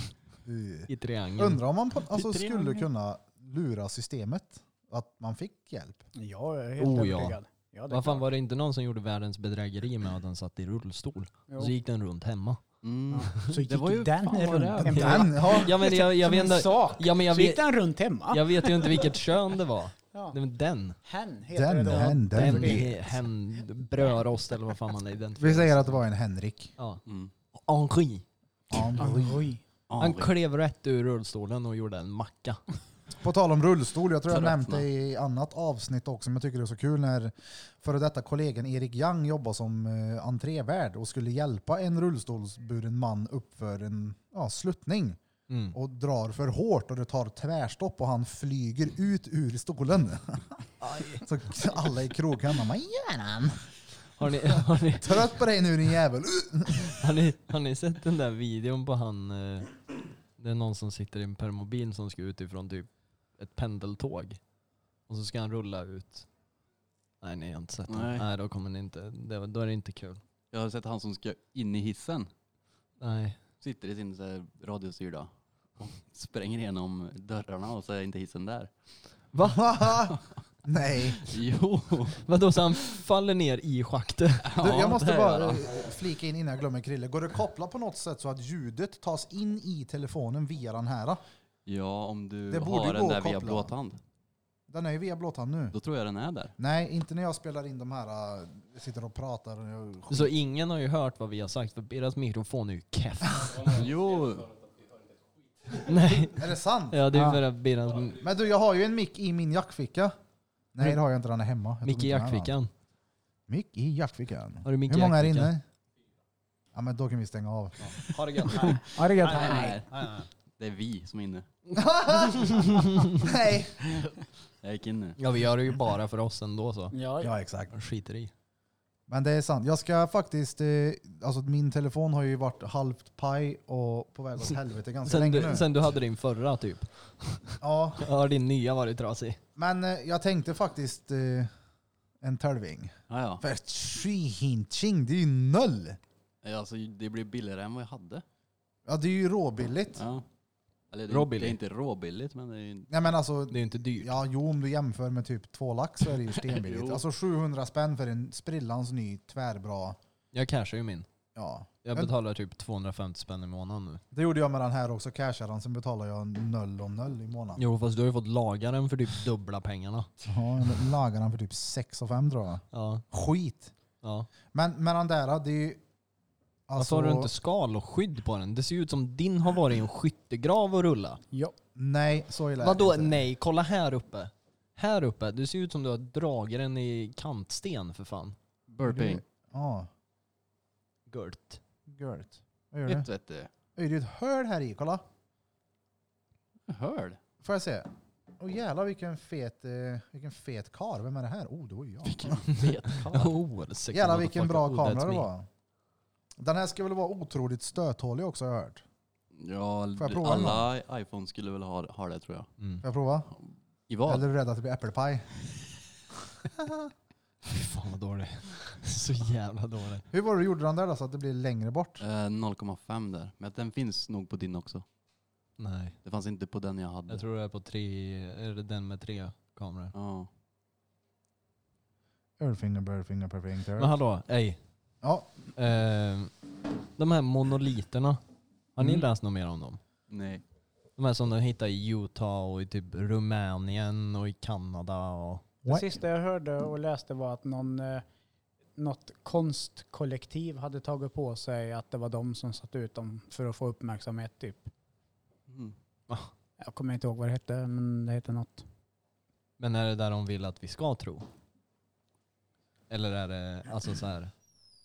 uh. i triangeln. Undrar om man på, alltså, Lite grann. skulle kunna lura systemet att man fick hjälp. Ja, jag är helt Oh, ja. övertygad. Ja, det är Vad fan klart. var det inte någon som gjorde världens bedrägeri med att den satt i rullstol? Jo. Och så gick den runt hemma. Mm. Så gick Det var ju den fan vad runt det är. hemma. Den, ja. Ja men jag, jag Som vet en inte. sak. Ja, men jag Så gick vet, den runt hemma. jag vet ju inte vilket kön det var. Ja. Nej, men den. Hen heter Den, det då. den, den. Den är hem, brödrost eller vad fan man identifierar Vi säger att det var en Henrik. Ja. Mm. Henri. Oj. Han Henrik. klev rätt ur rullstolen och gjorde en macka. På tal om rullstol, jag tror jag Tröttna. nämnt det i annat avsnitt också, men jag tycker det är så kul när före detta kollegan Erik Young jobbar som eh, entrévärd och skulle hjälpa en rullstolsburen man upp för en ja, sluttning Mm. och drar för hårt och det tar tvärstopp och han flyger ut ur stolen. så alla i krogen, vad gör han? Har ni, har, ni, Trött på dig nu din jävel! har, ni, har ni sett den där videon på han... eh, Det är någon som sitter i en permobil som ska ut ifrån typ ett pendeltåg. Och så ska han rulla ut. Nej, ni har inte sett den. Nej. Nej, då kommer ni inte. Det, då är det inte kul. Jag har sett han som ska in i hissen. Nej. Sitter i sin så här radiostyrda och spränger igenom dörrarna och så är inte hissen där. Va? Nej. Jo! Vadå, så han faller ner i schaktet? Du, Ja, jag måste det är bara det. eh, flika in innan jag glömmer Krille. Går det att koppla på något sätt så att ljudet tas in i telefonen via den här? Ja, om du Det borde gå har den där att via koppla. blåtand. Den är ju via blåtand nu. Då tror jag den är där. Nej, inte när jag spelar in de här. eh, Jag sitter och pratar. Och jag... Så ingen har ju hört vad vi har sagt för deras mikrofon är ju keff. Jo! Nej, Är det sant? ja det är Ja. för att Birrans Men du, jag har ju en mick i min jackficka. Nej, det har jag inte. Den är hemma. Jag tog mick inte i med den. jackfickan. Mick i jackfickan. Har du mick i Hur många är jackfickan? inne? Ja men då kan vi stänga av. Ha det gött. Ja, det är gött. Nej, nej, Det är vi som är inne. Nej! Jag gick in nu. Ja vi gör det ju bara för oss ändå så. Ja, ja. Ja exakt. Skiter i. Men det är sant. Jag ska faktiskt, eh, alltså min telefon har ju varit halvt paj och på väg åt helvete ganska Sen länge du, nu. sen du hade din förra typ. Ja, Har din nya varit trasig? men eh, jag tänkte faktiskt eh, en tolving. Ja, För tjing, det är ju noll! ja. Alltså, det blir billigare än vad jag hade. Ja det är ju råbilligt. Ja. Eller det, är, Råbilligt. det är inte råbilligt, men det är ju... Nej men alltså, Det är ju inte dyrt. ja jo om du jämför med typ två lax så är det ju stenbilligt. Jo. alltså 700 spänn för en sprillans ny tvärbra, Jag cashar ju min. ja. Jag Men- betalar typ 250 spänn i månaden nu. Det gjorde jag med den här också, cashade den, sen betalade jag noll om noll i månaden. Jo fast du har ju fått laga den för typ dubbla pengarna. Ja, jag lagade den för typ 6 och 5 tror jag. Ja. Skit! ja. Men, men den där, det är ju... Alltså- Varför har du inte skal och skydd på den? Det ser ju ut som din har varit i en skyttegrav och rulla. Nej, så illa är det Vadå inte. nej? Kolla här uppe. Här uppe. Det ser ut som du har dragit den i kantsten för fan. Burping. Ja, Gurt. gult. Vad gör du? Ett vet du. Oj, Det är ett hål här i, kolla. Hörd. Får jag se? Åh jävlar vilken fet, eh, vilken fet kar. Vem är det här? Oh, det var ju jag. Oh, det Jävlar vilken bra kamera det var. Den här ska väl vara otroligt stöthålig också har jag hört. Ja, Får jag du- prova alla iPhone skulle väl ha, ha det tror jag. Mm. Får jag prova? I vad? Eller är du rädd att det blir äppelpaj? Fy fan vad dålig. Så jävla dålig. Hur var det du gjorde den där då så att det blir längre bort? Eh, 0,5 där. Men den finns nog på din också. Nej. Det fanns inte på den jag hade. Jag tror det är på tre, är det den med tre kameror? Ja. Ölfinger, bölfinger, perfekter. Men hallå, ej. Ja, Eh, de här monoliterna. Har ni Mm. läst något mer om dem? Nej. De här som de hittar i Utah och i typ Rumänien och i Kanada och... Det sista jag hörde och läste var att någon, eh, något konstkollektiv hade tagit på sig att det var de som satte ut dem för att få uppmärksamhet typ. Mm. Jag kommer inte ihåg vad det hette, men det hette något. Men är det där de vill att vi ska tro? Eller är det alltså så här?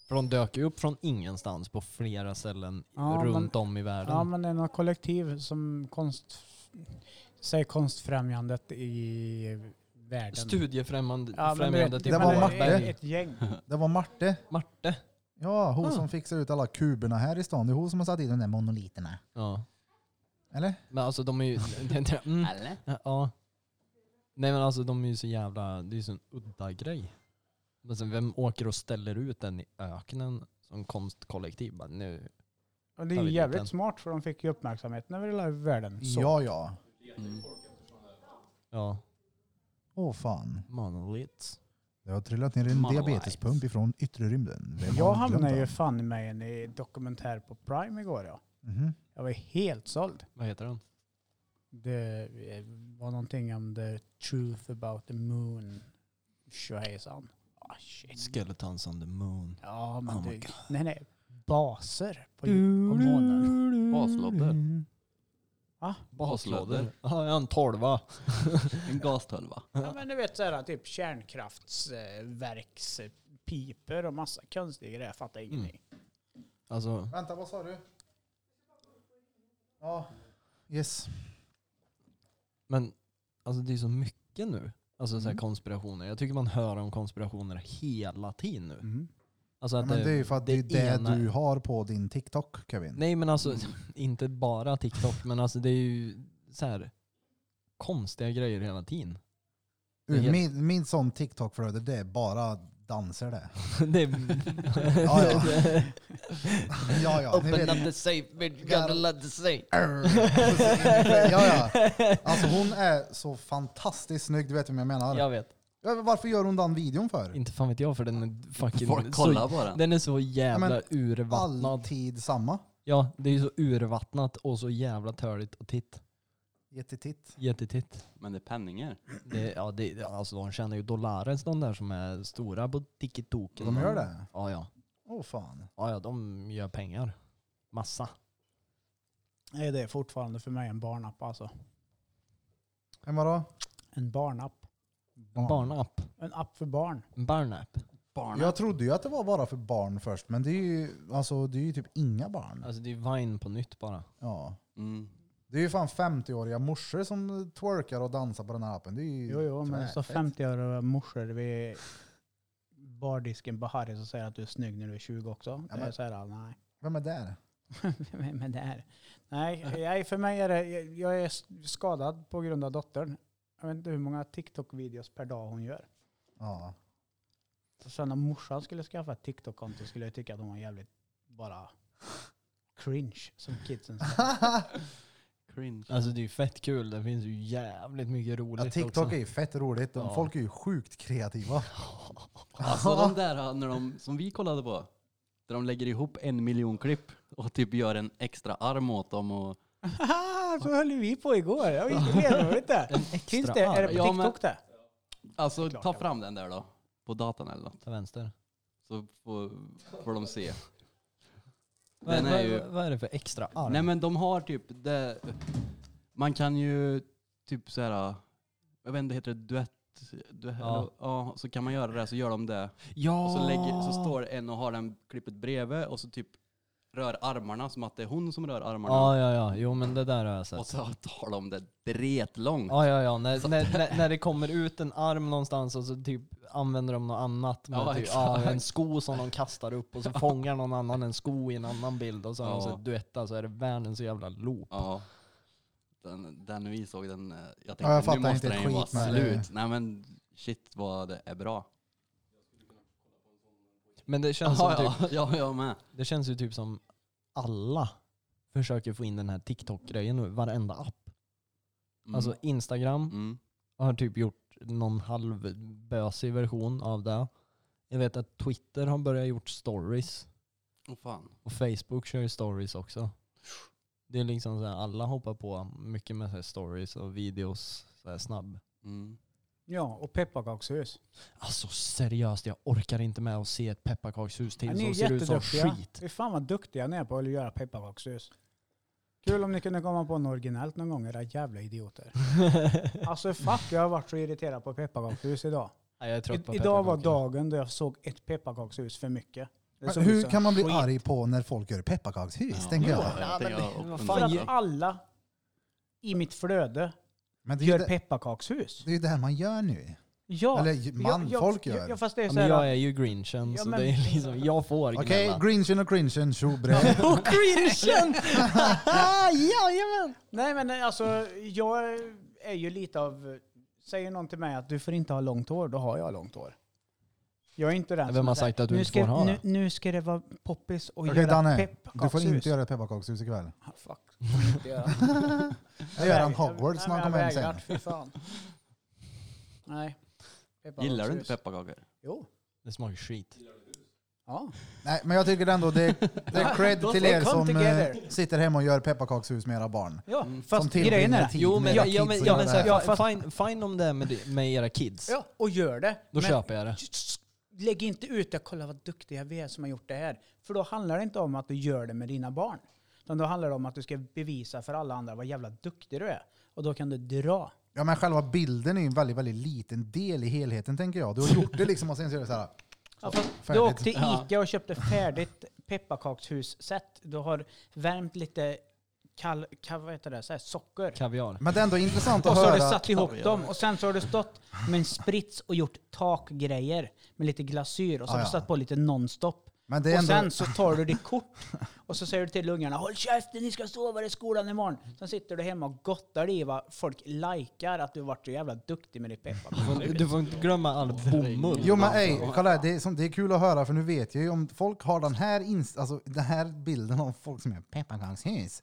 För de dök ju upp från ingenstans på flera ställen Ja, runt om i världen. Ja, men det är något kollektiv som konst, säger konstfrämjandet i världen. Studiefrämjandet Ja, men du vet, främjandet i det var men Varberg. Marte. Ett, ett gäng. det var Marte. Marte. Ja, hon Ah. som fixar ut alla kuberna här i stan. Det är hon som har satt i de där monoliterna. Ja. Eller? Men alltså de är ju... mm, Eller? ja. Nej men alltså de är ju så jävla... Det är ju så en udda grej. Men sen vem åker och ställer ut den i öknen som konstkollektiv? Bara, nu. Och det är Jag ju vet jävligt inte. smart för de fick ju uppmärksamheten över hela världen. Så. Ja, ja. Mm. Ja. Åh fan. Monolits. Jag har trillat ner i en Monolite. diabetespump ifrån yttre rymden. Vem Jag har glömt hamnade ju den? fan i mig i en i dokumentär på Prime igår. Ja. Mhm. Jag var helt såld. Vad heter den? Det eh, var någonting om the truth about the moon. Schweizan. Ah shit. Skeletons on the moon. Ja, men Oh my du, nej, nej. Baser på, på månen. Baslådor. Baslådor. Va? Baslådor? Ja, jag har en tolva. En gastölva. Ja men du vet såhär typ kärnkraftsverkspipor och massa konstiga grejer. Jag fattar Mm. ingenting. Alltså, Vänta, vad sa du? Ja. Yes. men alltså det är så mycket nu. Alltså så här Mm. konspirationer. Jag tycker man hör om konspirationer hela tiden nu. Mm. Alltså Ja, att men det är ju för att det är det ena- du Mm. har på din TikTok, Kevin. Nej men alltså, inte bara TikTok, men alltså det är ju så här konstiga grejer hela tiden. det är Ur helt- Min, min sån TikTok-flöde, det är bara danser det. det är, Ja, ja. Ja, ja. Ni Open vet. up the safe, bitch, gotta let the safe. Ja, ja. Alltså hon är så fantastiskt snygg, du vet vem jag menar. Jag vet. Ja, men Varför gör hon den videon för? Inte fan vet jag för den är fucking... Folk så, kollar på den. den är så jävla Ja, urvattnad. Alltid samma. Ja, det är ju så urvattnat och så jävla töligt och titt. Jättetitt. Jättetitt. Men det är penningar. Det, ja, det, alltså de tjänar ju dollares de där som är stora på TikTok. De gör det? Ja, ja. Åh fan. Ja, ja, de gör pengar. Massa. Nej det är fortfarande för mig en barnapp alltså. Vem var det? En barnapp. En barnapp. En app för barn. En barnapp. Barnen. Jag trodde ju att det var bara för barn först, men det är ju, alltså, det är ju typ inga barn. Alltså det är Vine på nytt bara. Ja. Mm. Det är ju fan 50-åriga morsor som twerkar och dansar på den här appen. Det är ju Jo, jo, men så knäfett. 50-åriga morsor vid bardisken på Harry som säger att du är snygg när du är 20 också. Ja, Det är men- så här, nej. Vem är där? Men- men det här. Nej, nej, för mig är det, jag- jag är s- skadad på grund av dottern. Jag vet inte hur många TikTok-videos per dag hon gör. Ja. Så sen om morsan skulle skaffa ett TikTok-konto skulle jag tycka att hon var jävligt bara cringe som kidsen säger. Cringe. Alltså det är ju fett kul, det finns ju jävligt mycket roligt ja, TikTok är också. ju fett roligt. De, Ja. Folk är ju sjukt kreativa. Alltså de där när de, som vi kollade på, där de lägger ihop en miljon klipp och typ gör en extra arm åt dem. Och, Haha, så höll vi på igår. Jag visste det. var inte. Finns det? Är det på Ja, men- TikTok det? alltså klart ta det. fram den där då, på datan eller något, Ta vänster. så får, får de se. Vad, Den vad, är ju- vad, vad är det för extra arm? Nej men de har typ, det, man kan ju typ så här, jag vet inte, heter det duett? duett Ja. ja. ja, så kan man göra det, så gör de det. ja! Och så, lägger, så står det en och har den klippet bredvid och så typ rör armarna som att det är hon som rör armarna. Ja, ja, ja. Jo men det där har jag Och sett. så tar de det dretlångt. Ja, ja, ja. När, när, när, när det kommer ut en arm någonstans och så typ använder de något annat. Med Ja, typ, exakt. ja, en sko som de kastar upp och så fångar någon annan en sko i en annan bild och så har de Ja. sett duetta så är det världens jävla loop. Ja. Den, den vi såg, den, eh, jag tänkte Ja, jag fattar nu måste inte den ett ju vara skit, men- slut. Nej men shit vad det är bra. Men det känns, Ja, som typ, ja, ja, jag med. det känns ju typ som alla försöker få in den här TikTok-grejen nu, varenda app. Mm. Alltså Instagram, mm. Jag har typ gjort någon halv bösig version av det. Jag vet att Twitter har börjat gjort stories. Åh, fan. Och Facebook kör ju stories också. Det är liksom så här, alla hoppar på mycket med så här stories och videos så här snabb. Mm. Ja, och pepparkakshus. Alltså seriöst, jag orkar inte med att se ett pepparkakshus Ja, till ni är som ser ut som jätteduktiga. skit. Fy fan vad duktiga ni är på att göra pepparkakshus. Kul om ni kunde komma på något originellt någon gång, era jävla idioter. Alltså fuck, jag har varit så irriterad på pepparkakshus idag. Nej, jag är trött på I, idag var pepparkakor. dagen då jag såg ett pepparkakshus för mycket. Det Men såg ut hur som kan man bli skit. arg på när folk gör pepparkakshus? Ja. Tänker jag. Ja, jag tänker jag vad öppnar fan För den att gör- också. alla i mitt flöde Men det är ju gör det, pepparkakshus. det, är ju det här man gör nu. Ja. Eller man, folk jag- gör. Jag, fast det är Ja, så men här, jag är ju grinchen Ja, så men- det är liksom, jag får Okej, gnälla. grinchen och crinchen, tjo bre. Och grinchen! Jajamän! Nej men alltså, jag är ju lite av... Säger någon till mig att du får inte ha långt hår, då har jag långt hår. Jag är inte den Vem som har säger, sagt att du nu inte ska, får ha nu, det?" nu ska det vara poppis och Okej göra Danne, du får pepparkakshus. inte göra ett pepparkakshus ikväll. Ah, Fuck. får inte göra. Jag gör han Hogwarts när han kommer hem sen. Fy fan. Nej. Gillar du inte Pepparkakshus. pepparkakor? Jo. Det smakar skit. Ja. Nej, men jag tycker ändå det, det är cred till er Come som together. eh, sitter hemma och gör pepparkakshus med era barn. Ja, Mm. som fast grejen är... tillbringar tid Jo med men, era ja, ja, men, kids ja, och men gör så här, det Ja, fi- fast- fine, fine om det är med, med era kids. Ja, och gör det. Då Men- köper jag det. Lägg inte ut det, kolla vad duktiga vi är som har gjort det här. För då handlar det inte om att du gör det med dina barn. Utan då handlar det om att du ska bevisa för alla andra vad jävla duktig du är. Och då kan du dra. Ja men själva bilden är ju en väldigt, väldigt liten del i helheten tänker jag. Du har gjort det liksom och sen så är det så här. Ja, fast du färdigt. Alltså, åkte till Ica och köpte färdigt pepparkakshusset. Du har värmt lite kall, kall, vad heter det, så här, socker. Kaviar. Men det är ändå intressant Och att så har du höra. satt ihop dem och sen så har du stått med en sprits och gjort takgrejer med lite glasyr och så har Ja, du ja. satt på lite nonstop. Men det är och ändå, sen så tar du ditt kort och så säger du till ungarna Håll käften, ni ska sova i skolan imorgon. Sen sitter du hemma och gottar dig i vad folk likar att du varit så jävla duktig med ditt pepparkakshus. Du får inte glömma all bomull. jo men ej, kolla här, det, är som, det är kul att höra för nu vet jag ju om folk har den här, inst- alltså, den här bilden av folk som är pepparkakshus.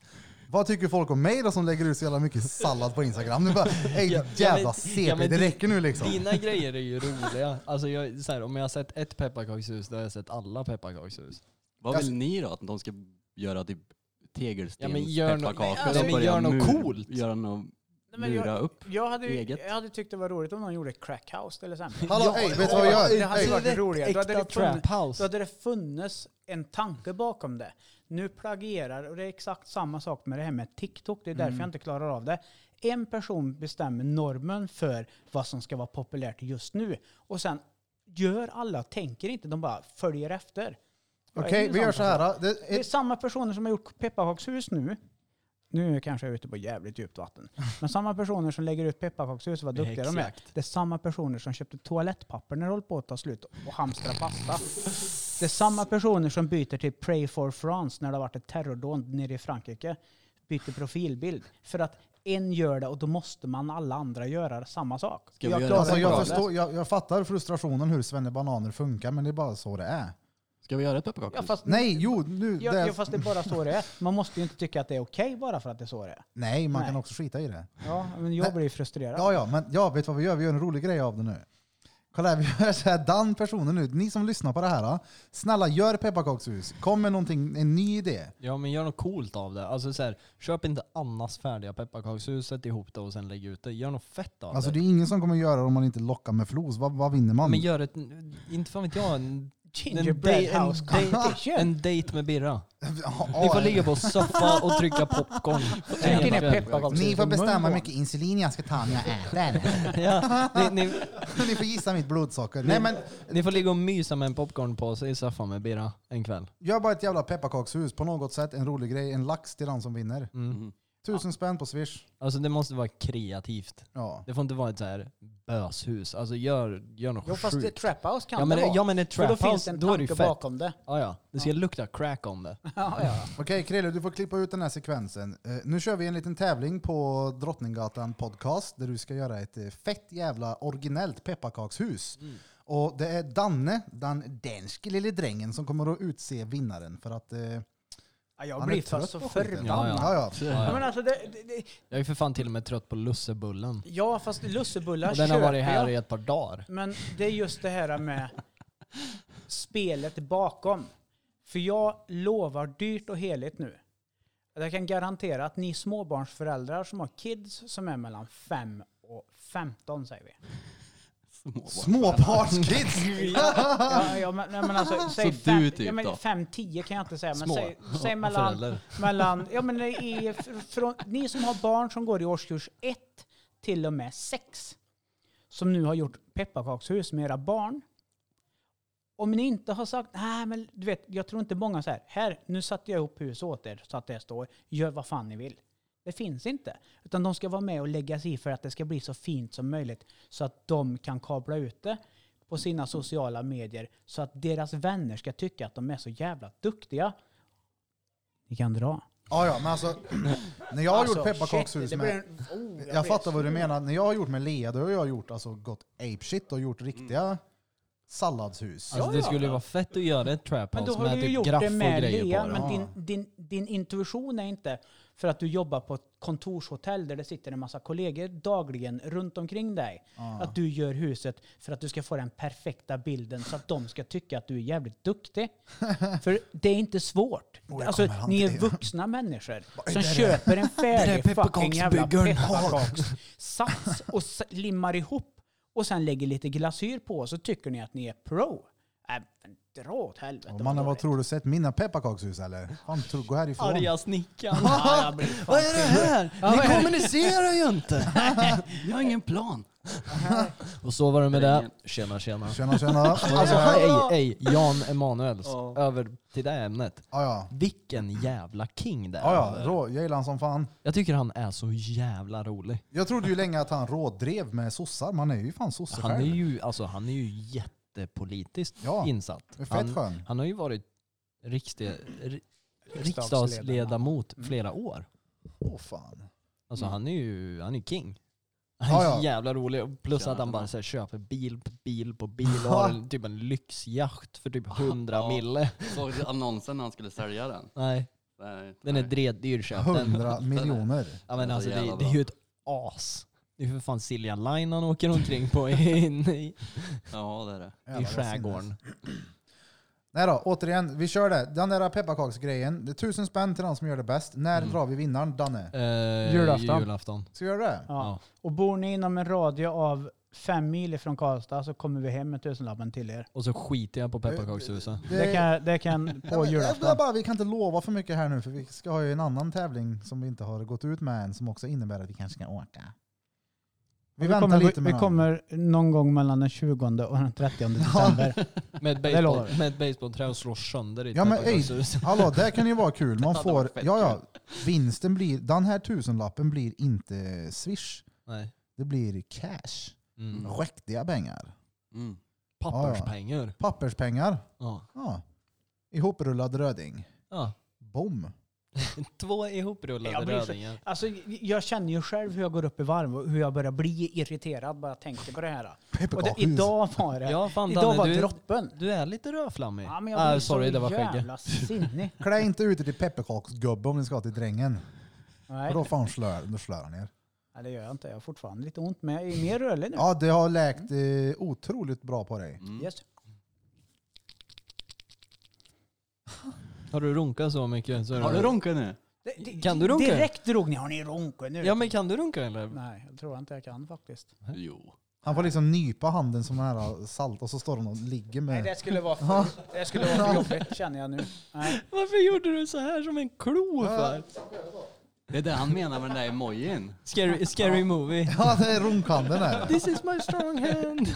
Vad tycker folk om mig då som lägger ut så jävla mycket sallad på Instagram? Nu bara, ej Ja, ja, jävla men- CP, ja, men det di- räcker nu liksom. Dina grejer är ju roliga. Alltså jag, så här, om jag har sett ett pepparkakshus, då har jag sett alla pepparkakshus. Vad Alltså- vill ni då? Att de ska göra typ Ja, men gör nå- tegelstenspepparkakor? Nej, alltså, och men börja gör något mur- coolt. Göra något, Nej, men lura jag, upp. jag, hade, ju- eget. jag hade tyckt det var roligt om någon gjorde crackhouse till exempel. Hallå, Ja, ey, vet du vad jag gör? Alltså, Det hade Ey, varit roligare. Då hade Äkta det funnits- trap house. Då hade det funnits en tanke bakom det. Nu plagierar, och det är exakt samma sak med det här med TikTok, det är därför Mm. jag inte klarar av det. En person bestämmer normen för vad som ska vara populärt just nu. Och sen gör alla, tänker inte, de bara följer efter. Jag är Okej, ju vi gör sån så person. här. Det Det är är, samma personer som har gjort pepparkakshus nu. Nu kanske jag är ute på jävligt djupt vatten. Men samma personer som lägger ut pepparkakshus, vad Med duktiga de är. häxjakt. Det är samma personer som köpte toalettpapper när det höll på att ta slut och hamstra pasta. Det är samma personer som byter till Pray for France när det har varit ett terrordåd nere i Frankrike. Byter profilbild. För att en gör det och då måste man alla andra göra samma sak. Ska vi göra- klarar alltså, inte av jag, det. förstår, jag, jag fattar frustrationen hur svennebananer funkar, men det är bara så det är. Ska vi göra ett Ja, pepparkakshus? fast, Nej, jo, nu... ja, det, ja, fast det är bara så det är. Man måste ju inte tycka att det är okej bara för att det är så det är. nej, man Nej. kan också skita i det. Ja, men jag blir ju frustrerad. Ja, ja, men ja, vet du vad vi gör? Vi gör en rolig grej av det nu. Kolla här, vi gör så här, den personen nu, ni som lyssnar på det här, ah, snälla gör pepparkakshus. Kom med någonting, en ny idé. Ja men gör något coolt av det. Alltså så här, köp inte Annas färdiga pepparkakshus, sätt ihop det och sen lägg ut det. Gör något fett av Alltså det. det är ingen som kommer göra det om man inte lockar med flos. Vad, vad vinner man? Men gör ett, inte fan vet jag, en, Gingerbread en, house dej- competition. en dejt med Birra. Ja, Ni får ja. ligga på soffa och trycka popcorn. Tryck in Hela ett kvällen. pepparkakshus Ni i får munnen bestämma på hur mycket insulin jag ska ta när jag äter. Ja, ni, ni, ni får gissa mitt blodsocker. Nej men, ni får ligga och mysa med en popcornpåse i soffan med Birra en kväll. gör bara ett jävla pepparkakshus på något sätt. En rolig grej, en lax till den som vinner. Mm. Tusen spänn på swish. Alltså det måste vara kreativt. Ja. Det får inte vara ett så här böshus. Alltså gör, gör något Jo fast det, sjukt. trap house kan ja, men, det vara. ja men ett För då trap finns det house, en då är det ju tanke fett. bakom det. Ja, ja. Det ska lukta crack om det. Ja, ja. Okej Krille, du får klippa ut den här sekvensen. Eh, nu kör vi en liten tävling på Drottninggatan podcast där du ska göra ett eh, fett jävla originellt pepparkakshus. Mm. Och det är Danne, den danske lille drängen, som kommer att utse vinnaren för att... Eh, Ja, jag Han blir är trött fast så på skiten. förbannad. ja, ja. Ja, Ja, men ja. alltså det, det, det, Jag är för fan till och med trött på lussebullen. ja fast lussebullar Och den har köper varit här jag. i ett par dagar. Men det är just det här med spelet bakom. För jag lovar dyrt och heligt nu. att Jag kan garantera att ni småbarnsföräldrar som har kids som är mellan 5 och 15 säger vi. Småbarnskids! Ja, ja, men, nej, men alltså, säg du fem, typ ja, men då? fem, tio kan jag inte säga. Men Små säg, säg mellan, föräldrar. mellan, ja, men i, fr- från, ni som har barn som går i årskurs 1 till och med 6, som nu har gjort pepparkakshus med era barn. Om ni inte har sagt, nej men du vet, jag tror inte många så här, här, nu satte jag ihop hus åt er så att det står, gör vad fan ni vill. Det finns inte. Utan de ska vara med och lägga sig i för att det ska bli så fint som möjligt så att de kan kabla ut det på sina sociala medier så att deras vänner ska tycka att de är så jävla duktiga. Ni kan dra. Ja, ja, men alltså, när jag har gjort pepparkakshus Alltså, shit, det med... blir en- oh, Jag blir- fattar vad du menar. När jag har gjort med Lea, då har jag gjort, alltså, gått apeshit och gjort riktiga salladshus. Alltså, Mm. Ja, det ja. skulle ju vara fett att göra ett trap Men då house har med du ju typ gjort graff det och med grejer Lea, på det. men din, din, din intuition är inte för att du jobbar på ett kontorshotell där det sitter en massa kollegor dagligen runt omkring dig. Att du gör huset för att du ska få den perfekta bilden så att de ska tycka att du är jävligt duktig. För det är inte svårt. jag alltså, kommer ni är aldrig- vuxna människor som köper en färdig fucking jävla pepparkakssats och s- limmar ihop och sen lägger lite glasyr på så tycker ni att ni är pro. Äh, men dra åt helvete. Och Mannen, dåligt. vad tror du? Sett mina pepparkakshus eller? Fan, tror- gå härifrån. snickaren. Ja, jag blir fan Vad är det här? Ni kommunicerar ju inte! Jag har ingen plan. Och så var det med det. Tjena tjena. Tjena, tjena. Alltså alltså, hej, hej, Jan Emanuels. Över till det här ämnet. ja, ja. Vilken jävla king det är. Ja, ja. Rå, jag gillar han som fan. Jag tycker han är så jävla rolig. Jag trodde ju länge att han rådrev med sossar, man är ju fan sosse Han är själv. ju, alltså, han är ju jättepolitiskt Ja, insatt. det är fett Han, skön. han har ju varit riksdag, ri, riksdagsledamot flera år. Åh fan. Alltså han är ju han är king. Han Ja, är ja. så jävla rolig. Och Plus Tjena, att han tjena. bara så här, köper bil på bil på bil och har en, typ en lyxjacht för typ 100 Ja. mille. Såg du annonsen när han skulle sälja den? Nej, Nej, den är nej. dreddyr köpt den. 100 miljoner. Ja, men Den är alltså, så det, jävla det är ju ett as. Det är ju för fan Silja Line han åker omkring på i, i, Ja det är det. Jävlar, i vad skärgården. sinnes. Nej då, återigen, vi kör det. Den där pepparkaksgrejen, det är tusen spänn till den som gör det bäst. När Mm. drar vi vinnaren, Danne? Eh, Julafton. julafton. Ska vi göra det? Ja. Ja. Och bor ni inom en radie av fem mil ifrån Karlstad så kommer vi hem med tusenlappen till er. Och så skiter jag på pepparkakshuset. Det kan, det kan Nej, på men, jag- julafton. jag bara, vi kan inte lova för mycket här nu för vi ska ha ju en annan tävling som vi inte har gått ut med än som också innebär att vi kanske kan åka. Vi, vi väntar kommer, lite med Vi den. kommer någon gång mellan den 20 och den 30 december. Med ett Det lovar baseball, vi. med ett baseballträ och slår sönder ditt Ja, men, ey. pepparkakshus. Hallå, det kan ju vara kul. Man hade får, varit fett ja, ja, vinsten blir, den här tusenlappen blir inte swish. Nej. Det blir cash. Mm. Riktiga pengar. Mm. Papperspengar. Papperspengar. Ja. Ja. Ihoprullad röding. ja. Bom. Två ihoprullade Jag blir så- rödingar. Alltså, jag känner ju själv hur jag går upp i varv och hur jag börjar bli irriterad bara jag tänker på det här. Och det, Pepparkakshus. idag var det. Ja fan idag var Danne, du, droppen. du är lite rödflammig. Ja, men jag ah, blir sorry, så det var skägget. jävla sinnig. Klä inte ut er till pepparkaksgubbe om ni ska till drängen. För Nej, då fan slör, då slör han er. Nej, det gör jag inte. Jag har fortfarande lite ont, men jag är mer rörlig nu. Mm. Ja, det har läkt eh, otroligt bra på dig. mm. Yes. Har du runkat så mycket? Så är Har det- du ronkat nu? Det- det- Kan du runka? Direkt drog ni. Har ni ronkat nu? Ja men kan du runka eller? Nej, jag tror inte jag kan faktiskt. Jo. Han får liksom nypa handen som den här eh, salt och så står han och ligger Nej, med... det skulle vara för, det skulle vara för jobbigt känner jag nu. Nej. Varför gjorde du så här som en klo för? Det är det han menar med den där emojin. Scary, scary movie. Ja, det är runkhanden är det. This is my strong hand.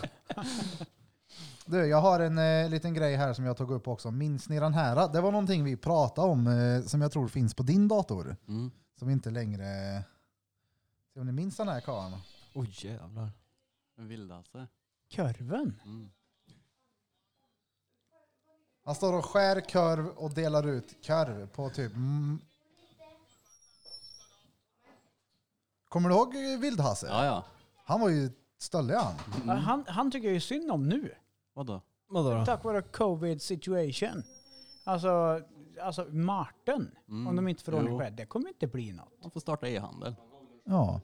Du, jag har en eh, liten grej här som jag tog upp också. Minns ni den här? Det var någonting vi pratade om eh, som jag tror finns på din dator. Mm. Som inte längre... Se om ni minns den här karln. Oj jävlar. En vildhasse. Körven? Mm. Han står och skär korv och delar ut korv på typ... Mm. Kommer du ihåg eh, Vildhasse? Ja, ja. Han var ju stöldig han. Ja, Han, han tycker jag ju synd om nu. Vadå? Vadå då? Tack vare covid situation. Alltså, alltså Martin. Om de inte får ordning Jo. på det. Det kommer inte bli något. Han får starta e-handel. Ja.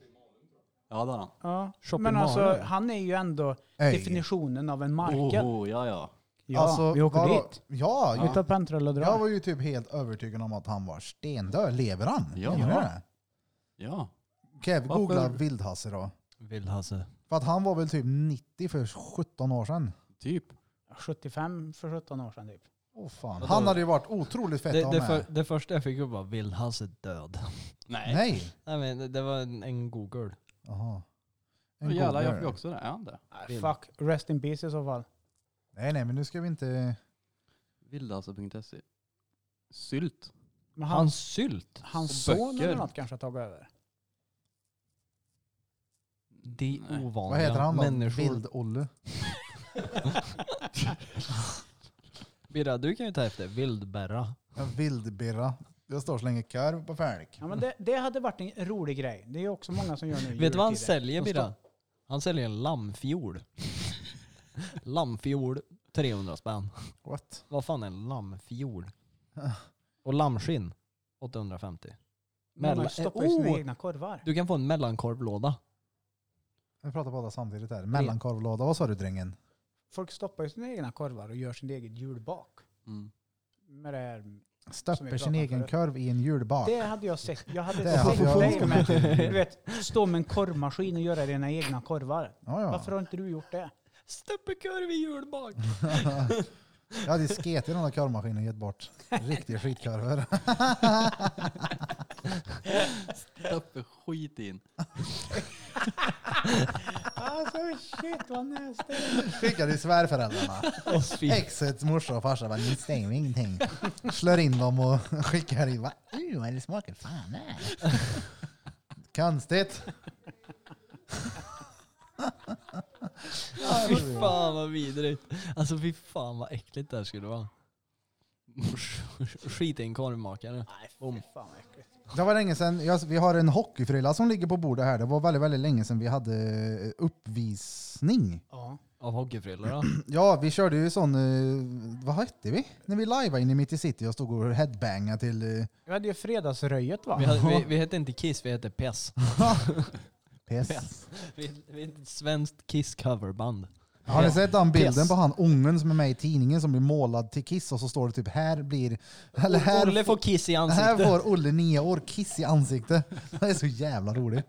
Ja, det har han. Ja. Shopping Men alltså, Mare. han är ju ändå Ey. definitionen av en marker. Oho, ja, ja. Ja, Alltså, vi åker vadå? dit. Ja, Vi tar pentrull och drar. jag var ju typ helt övertygad om att han var stendöd. Lever han? Ja. Menar du det? Ja. Kev, Varför? googla Vildhasse då. Vildhasse. För att han var väl typ 90 för 17 år sedan. Typ. 75 för 17 år sedan typ. Åh fan. Vadå? Han hade ju varit otroligt fett Det, att ha det, med. för, det första jag fick upp var Vildhasse död. Nej. Nej. Nej men det, det var en, en Google. Jaha. Och jävlar, jag googler. fick också det. Är han det? Nej, Fuck, rest in peace i så fall. Nej, nej, men nu ska vi inte... Vildhasse.se. E. Sylt. Men Hans hans, sylt. hans och son böcker. eller något kanske har tagit över. Det Nej. Vad ovanliga. heter han då? Människor. Vild-Olle. Birra, du kan ju ta efter. Vildberra. En Vild-Birra. Jag står och slänger korv på folk. Ja, men det, det hade varit en rolig grej. Det är ju också många som gör nu i Vet du vad han jultider. säljer Som Birra? Han säljer en lammfjol. lammfjol, 300 spänn. What? Vad fan är en lammfjol? Och lammskinn, 850. Men Mellan- man stoppar ju sina Oh! egna korvar. Du kan få en mellankorvlåda. Vi pratar båda samtidigt här. Mellankorvlåda. Vad sa du drängen? Folk stoppar ju sina egna korvar och gör sin eget julbak. Mm. Med det, här. Stöpper sin pratade egen förut. korv i en julbak. det hade jag sett. Jag Det hade hade sett jag dig också. med, typ. du vet, stå med en korvmaskin och göra dina egna korvar. Ja, ja. Varför har inte du gjort det? Steppekorv i julbak. Jag hade sket i den där korvmaskinen och gett bort. Riktiga skitkorvar. Stoppe skit in. Alltså shit vad nästa. Skickade till svärföräldrarna. Och fy Exets morsa och farsa bara, ni säger ju ingenting. Slår in dem och skickar in. Va? Uh, vad det smakar fan nej. Konstigt. Fy fan vad vidrigt. Alltså fy fan vad äckligt det här skulle vara. Skit i en korvmakare. Nej, fy fan vad äckligt. Det var länge sedan, jag, vi har en hockeyfrilla som ligger på bordet här. Det var väldigt, väldigt länge sedan vi hade eh, uppvisning. Ja. Av hockeyfrillor då? Ja, vi körde ju sån, eh, vad hette vi? När vi lajvade inne mitt i city och stod och headbangade till eh, Vi hade ju fredagsröjet va? Vi, hade, vi, vi hette inte Kiss, vi hette Pess. PS. Vi, vi hette ett svenskt Kiss-coverband. Har ni sett den bilden Pess. på han ungen som är med i tidningen som blir målad till Kiss och så står det typ här blir... Eller här Olle får Kiss i Här ansiktet. får Olle nio år kiss i ansiktet. Det är så jävla roligt.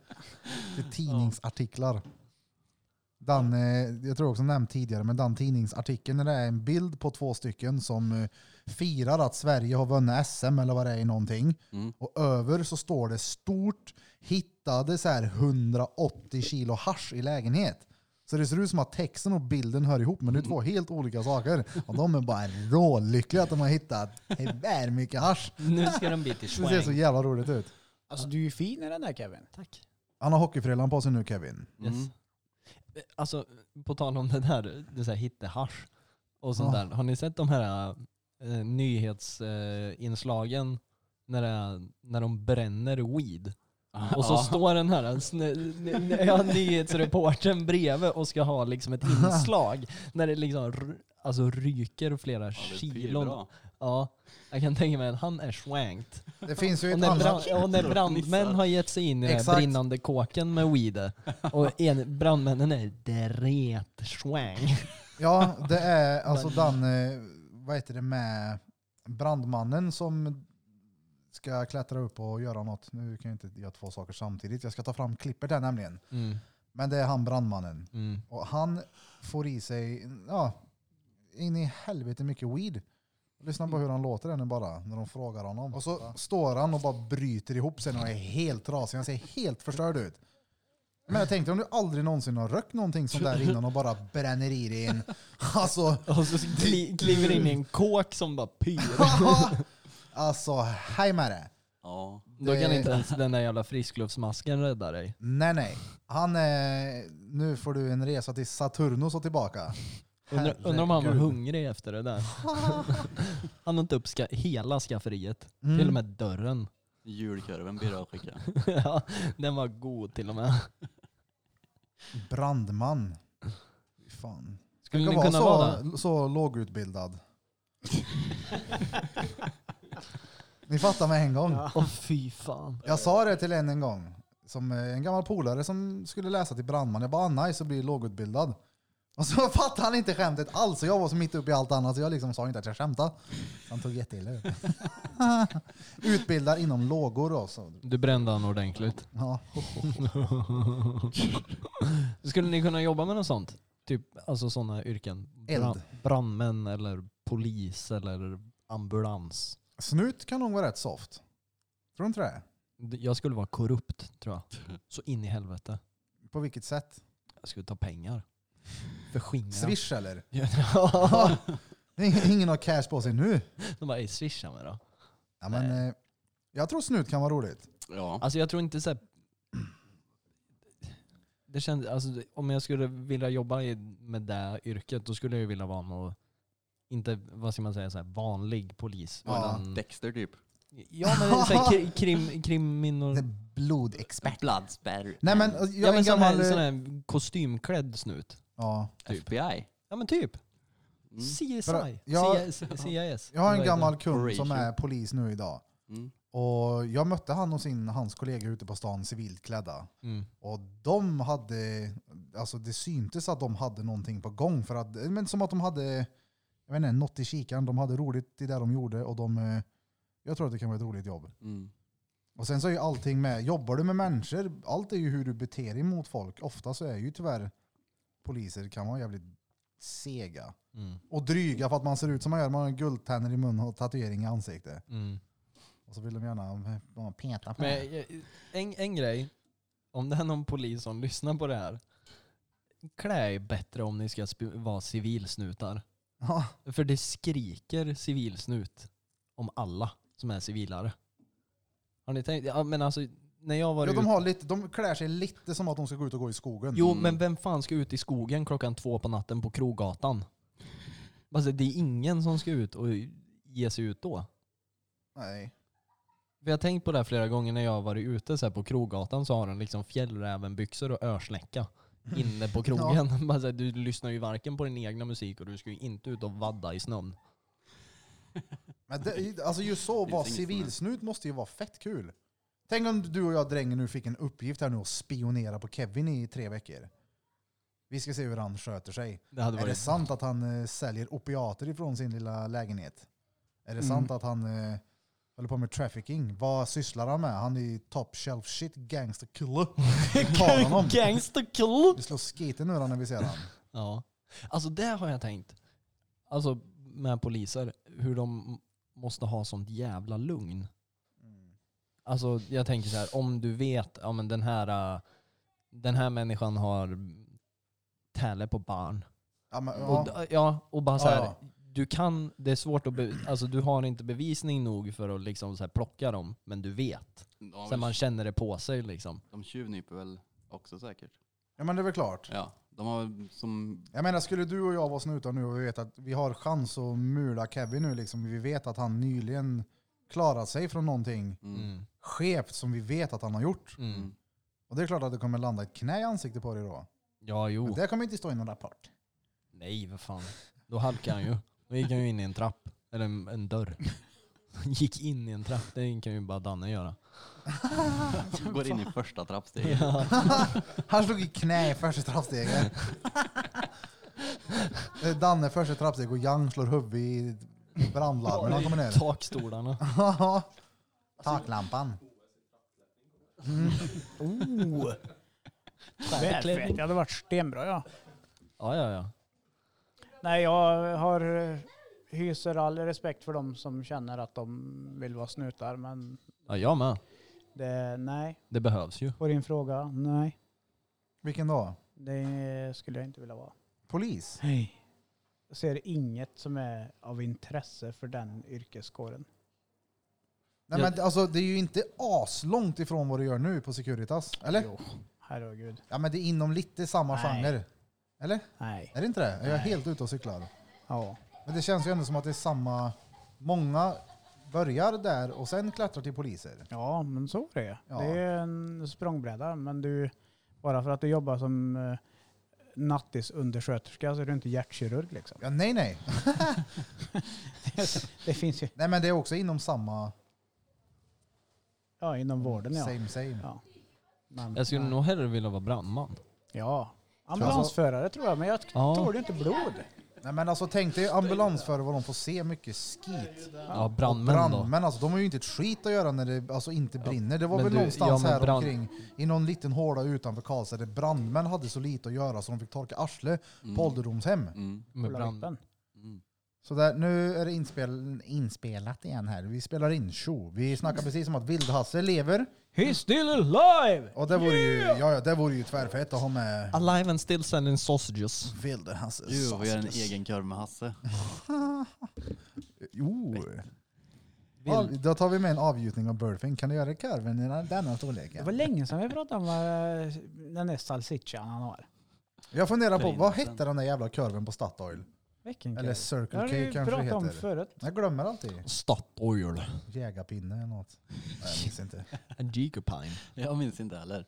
Det är tidningsartiklar. Den, eh, jag tror också jag nämnt tidigare, men den tidningsartikeln där det är en bild på två stycken som eh, firar att Sverige har vunnit SM eller vad det är i någonting. Mm. Och över så står det stort hittade så här 180 kilo hasch i lägenhet. Så det ser ut som att texten och bilden hör ihop, men det är två helt olika saker. Och de är bara rålyckliga att de har hittat väl mycket hasch. Nu ska den bli till Det ser så swang. jävla roligt ut. Alltså du är ju fin i den där Kevin. Tack. Han har hockeyfrillan på sig nu Kevin. Yes. Mm. Eh, Alltså, på tal om det där, det är så här hittehasch och sånt Ja. där. Har ni sett de här eh, nyhetsinslagen eh, inslagen när, det är- när de bränner weed? Och så Ja. står den här sn- n- n- ja, nyhetsreportern bredvid och ska ha liksom ett inslag när det liksom r- alltså ryker flera Ja, det blir kilon. bra. Ja, jag kan tänka mig att han är swankt. Det finns ju Och ett när, annat... brand, och när brandmän har gett sig in i den här Exakt. brinnande kåken med weed och en, brandmännen är dretswang. Ja, det är alltså den, eh, vad heter det med brandmannen som ska klättra upp och göra något. Nu kan jag inte göra två saker samtidigt. Jag ska ta fram klippet här nämligen. Mm, Men det är han brandmannen. mm. Och han får i sig, ja, in i helvete mycket weed. Lyssna på hur han låter där nu bara, när de frågar honom. Och så står han och bara bryter ihop sig och är helt trasig. Han ser helt förstörd ut. Men jag tänkte om du aldrig någonsin har rökt någonting sånt där innan och bara bränner i dig en... Alltså, Och så kli, kliver in i en kåk som bara pyr. alltså hej med det. Ja. Då kan Det- inte ens den där jävla friskluftsmasken rädda dig. Nej, nej. Han är, nu får du en resa till Saturnus och tillbaka. Undrar, undrar om han var Herregud. hungrig efter det där. han har inte upp ska, hela skafferiet. Mm. Till och med dörren. Julkorven blir det att skicka. ja, den var god till och med. Mm. Brandman. Fy Fan. Skulle Ska ni vara kunna så, vara det? så lågutbildad. Ni fattar mig en gång. Ja. Åh fy fan. Jag sa det till en en gång. Som eh, en gammal polare som skulle läsa till brandman. Jag bara, ah, nice att bli lågutbildad. Och så fattade han inte skämtet alls. Så jag var så mitt uppe i allt annat så jag liksom sa inte att jag skämtade. Han tog jätteilla ut. Utbildar inom lågor och så. Du brände han ordentligt. Ja. Skulle ni kunna jobba med något sånt? Typ alltså sådana yrken? Eld. brandmän eller polis eller ambulans. Snut kan nog vara rätt soft. Tror du inte det? D- Jag skulle vara korrupt tror jag. Så in i helvete. På vilket sätt? Jag skulle ta pengar. För skingra. Swish eller? Ja. Ingen har cash på sig nu. De bara, "Ey, swisha mig då. Ja, men, eh, jag tror snut kan vara roligt. Ja. Alltså jag tror inte så här, det känns, alltså, det- Om jag skulle vilja jobba i, med det yrket då skulle jag ju vilja vara någon, inte vad ska man säga, så här, vanlig polis. Ja, utan- Dexter typ. ja men så här, kri- krim, kriminor... Det är blodexpert. Bloodsberg. Nej men eh, jag Mm. Ja är men en sån här, gammal... eh, sån här kostymklädd snut. ja. typ. FBI. Ja men typ. Mm. För CSI. jag- CS, CIS. Jag har en Vad gammal heter kund som Horatio. är polis nu idag. Mm. Och jag mötte han och sin, hans kollega ute på stan civilt klädda. det? Mm. Och de hade, alltså det syntes att de hade någonting på gång. För att, eh, men som att de hade, jag vet inte, något i kikan. De hade roligt i det de gjorde och de, eh, jag tror att det kan vara ett roligt jobb. Mm. Och sen så är ju allting med, jobbar du med människor, allt är ju hur du beter dig mot folk. Ofta så är ju tyvärr poliser kan vara jävligt sega. Mm. Och dryga för att man ser ut som man gör, man har guldtänder i munnen och tatuering i ansiktet. Mm. Och så vill de gärna eh, bara peta på Men eh, en, en grej, om det är någon polis som lyssnar på det här. Klä er bättre om ni ska sp- vara civilsnutar. Ja, För det skriker civilsnut om alla som är civilare. Har ni tänkt? Ja, men alltså, när jag var ja, ute... de, har lite, de klär sig lite som att de ska gå ut och gå i skogen. Jo, Mm. men vem fan ska ut i skogen klockan två på natten på Krogatan? Alltså, det är ingen som ska ut och ge sig ut då. Nej. Vi har tänkt på det här flera gånger när jag har varit ute så här på Krogatan så har de liksom fjällrävenbyxor och örsnäcka inne på krogen. Bara så här, du lyssnar ju varken på din egna musik och du ska ju inte ut och vadda i snön. Men det, alltså just så, Det vara finns inget som helst. civilsnut måste ju vara fett kul. Tänk om du och jag drängen nu fick en uppgift här nu att spionera på Kevin i tre veckor. Vi ska se hur han sköter sig. Det hade Är det varit... sant att han eh, säljer opiater ifrån sin lilla lägenhet? Är det Mm. sant att han eh, håller på med trafficking? Vad sysslar han med? Han är ju top shelf shit gangster killer. Ta honom. Gangsterklubb! Vi slår skiten ur honom när vi ser honom. Ja. Alltså det har jag tänkt. Alltså med poliser, hur de måste ha sånt jävla lugn. Alltså jag tänker så här, om du vet, ja men den här, eh, den här människan har tälle på barn. Ja, men, Och, ja. d- ja, och bara så Ja, här, ja. du kan, det är svårt att, be, alltså du har inte bevisning nog för att liksom så här plocka dem, men du vet. De, Så här, man känner det på sig liksom. de tjuvnyper väl också säkert. ja, men det är väl klart. Ja, de har väl som... Jag menar, skulle du och jag vara snutar nu och vi vet att vi har chans att mula Kevin nu, liksom. vi vet att han nyligen klarat sig från någonting Mm. skevt som vi vet att han har gjort. Mm. Mm. Och det är klart att det kommer landa ett knä i ansiktet på dig då. Ja, Men jo. det kommer inte stå i någon rapport. Nej, vad fan. Då halkade han ju. Då gick han ju in i en trapp. Eller en, en dörr. Gick in i en trapp. Det kan ju bara Danne göra. De går in i första trappsteget. Han slog i knä i första trappsteget. Det är Danne första trappsteget och Yang slår huvudet i brandlarmen. Han kommer ner. Takstolarna. Ja. Taklampan. Oh. Välfett. Jag hade varit stenbra ja. Ja, ja, ja. Nej, jag har, eh, hyser all respekt för de som känner att de vill vara snutar, men ja jag med. det, nej. Det behövs ju. På din fråga, nej. Vilken då? Det skulle jag inte vilja vara. Polis? Nej. Jag ser inget som är av intresse för den yrkeskåren. Nej, men alltså, det är ju inte aslångt ifrån vad du gör nu på Securitas. Eller? Jo, herregud. Ja men det är inom lite samma Nej. genre. Eller? Nej. Är det inte det? Jag är Nej. helt ute och cyklar. Ja. Men det känns ju ändå som att det är samma... Många börjar där och sen klättrar till poliser. Ja, men så är det. Ja. Det är en språngbräda, men du, bara för att du jobbar som eh, nattisundersköterska så är du inte hjärtkirurg liksom. Ja, nej nej. Det finns ju Nej men det är också inom samma... ja, inom vården ja. Same same. Ja. Men, Jag skulle nej. nog hellre vilja vara brandman. Ja. Ambulansförare tror jag, men jag Ja. tål ju inte blod. Nej men alltså tänk dig ambulansförare vad de får se mycket skit. Ja, Och brandmän då. brandmän alltså, de har ju inte ett skit att göra när det alltså, inte brinner. Det var men väl du- ja, någonstans men här brand- omkring i någon liten håla utanför Karlstad där brandmän hade så lite att göra så de fick torka arsle på ålderdomshem. Mm. Med Kolla brand. vippen. Mm. Så där, nu är det inspel, inspelat igen här. Vi spelar in show. Vi snackar precis om att Vildhasse lever. He's still alive! Och det vore ju, ja, ja, det vore ju tvärfett att ha med Alive and still selling sausages. Vildhasse. Jo, vi gör en egen korv med Hasse. Jo. Av- Då tar vi med en avgjutning av Burfing. Kan du göra karven i denna Det var storleken? länge sedan vi pratade om eh, den där salsichan han har. Jag funderar på, Fint. vad hette den där jävla kurven på Statoil? Vilken Eller kille. Circle Det har K vi kanske det pratat om heter. förut. Jag glömmer alltid. Statoil. Jägarpinne eller något. Nej, jag minns inte. En jiggerpine. Jag minns inte heller.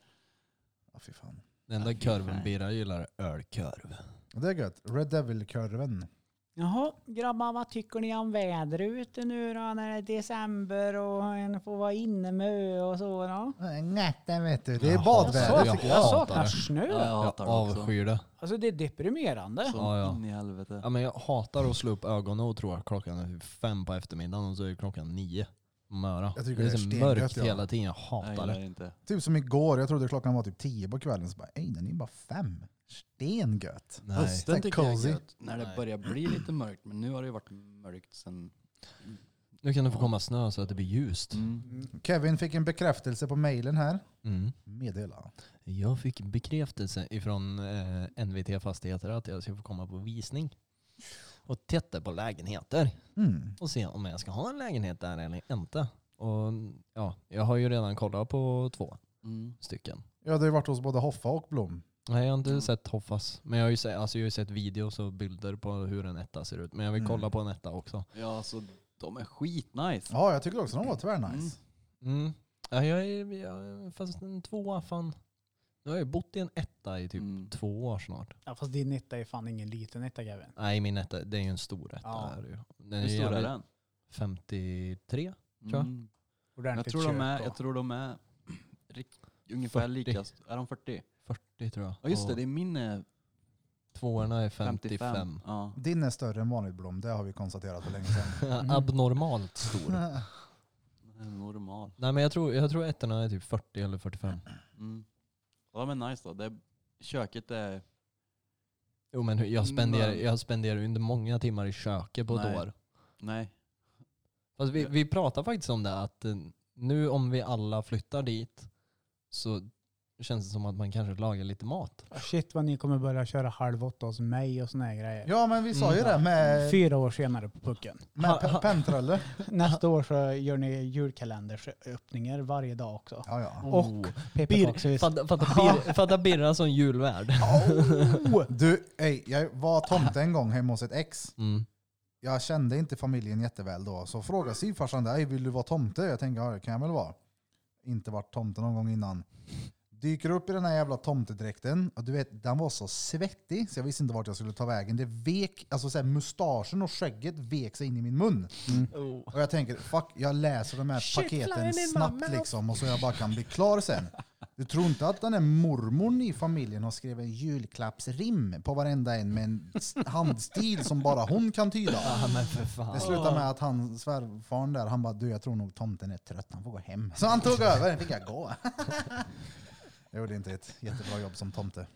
Ja, fy fan. Den enda korven Birra gillar är ölkorv. Och Det är gött. Red Devil-kurven. Jaha, grabbar vad tycker ni om väder ute nu då när det är december och en får vara inne med ö och så då? Nätten vet du. Det är Jaha. badväder. Jag jag, tycker jag jag saknar hatar det. snö. Ja, jag Jag hatar det också. avskyr det. Alltså det är deprimerande. Så Ja, ja. in i helvete. Ja, men jag hatar att slå upp ögonen och tro att klockan är fem på eftermiddagen och så är klockan nio på morgonen. Jag tycker det är det är så stengött, mörkt ja. hela tiden, jag Jag hatar gillar det. det inte. Typ som igår, jag trodde klockan var typ tio på kvällen. Så bara, ej den är bara fem. Stengött. Nej. Tänk cozy. gött. När det Nej. börjar bli lite mörkt, men nu har det ju varit mörkt sen... Nu kan det få komma snö så att det blir ljust. Mm. Kevin fick en bekräftelse på mejlen här. Mm. Meddela. Jag fick bekräftelse ifrån eh, NVT Fastigheter att jag ska få komma på visning och titta på lägenheter Mm. och se om jag ska ha en lägenhet där eller inte. Och, ja, jag har ju redan kollat på två Mm. stycken. Ja, det har ju varit hos både Hoffa och Blom. Nej, jag har inte Mm. sett Hoffas. Men jag har, ju sett, alltså jag har ju sett videos och bilder på hur en etta ser ut. Men jag vill Mm. kolla på en etta också. Ja, så de är skitnice. Ja, jag tycker också de var tvärnice. Mm. Mm. Ja, jag är, jag, fast en tvåa, fan. Nu har jag ju bott i en etta i typ Mm. två år snart. Ja, fast din etta är fan ingen liten etta Kevin. Nej, min etta, det är ju en stor etta. Ja. Är det ju. Den Hur stor är jävligt- den? 53. tror jag. Mm. Jag Ordentligt tror de kök är, och- jag tror de är rikt- ungefär 40. lika. st- Är de 40? 40 tror jag. Ja just det, Och det är min är Tvåorna är 55. 55. Ja. Din är större än vanligt Blom, det har vi konstaterat för länge sedan. Mm. Abnormalt stor. den är Normal. Nej, men jag tror, jag tror ettorna är typ 40 eller 45. Mm. Ja men nice då. Det, köket är... Jo, men hur- jag spenderar, Mm, Men- jag spenderar ju inte många timmar i köket på ett Nej. år. Nej. Fast vi, vi pratade faktiskt om det, att eh, nu om vi alla flyttar dit så känns det som att man kanske lagar lite mat. Shit vad ni kommer börja köra halv åtta hos mig och såna här grejer. Ja men vi sa ju Mm. det med, Fyra år senare på pucken. med pe- pentrelle. Nästa år så gör ni julkalendersöppningar varje dag också. Ja, ja. Oh. Och Bir, pepparkakshus. fatta, fatta, bir, fatta Birra som julvärd. Du, ey, jag var tomte en gång hemma hos ett ex. Mm. Jag kände inte familjen jätteväl då. Så frågade styvfarsan där, "Ey, vill du vara tomte? Jag tänkte, ja det kan jag väl vara. Inte varit tomte någon gång innan. Dyker upp i den här jävla tomtedräkten. Och du vet, den var så svettig så jag visste inte vart jag skulle ta vägen. Det vek, alltså så här, mustaschen och skägget vek sig in i min mun. Och jag tänker, fuck, jag läser de här Mm. Shit, paketen flying in my snabbt mouth. liksom och så jag bara kan bli klar sen. Du tror inte att den här mormorn i familjen har skrivit en julklappsrim på varenda en med en s- handstil som bara hon kan tyda? Ja, men för fan. Det slutade med att han, svärfaren där, han bara du jag tror nog tomten är trött, han får gå hem. Så han tog över, fick jag gå. Jag gjorde inte ett jättebra jobb som tomte.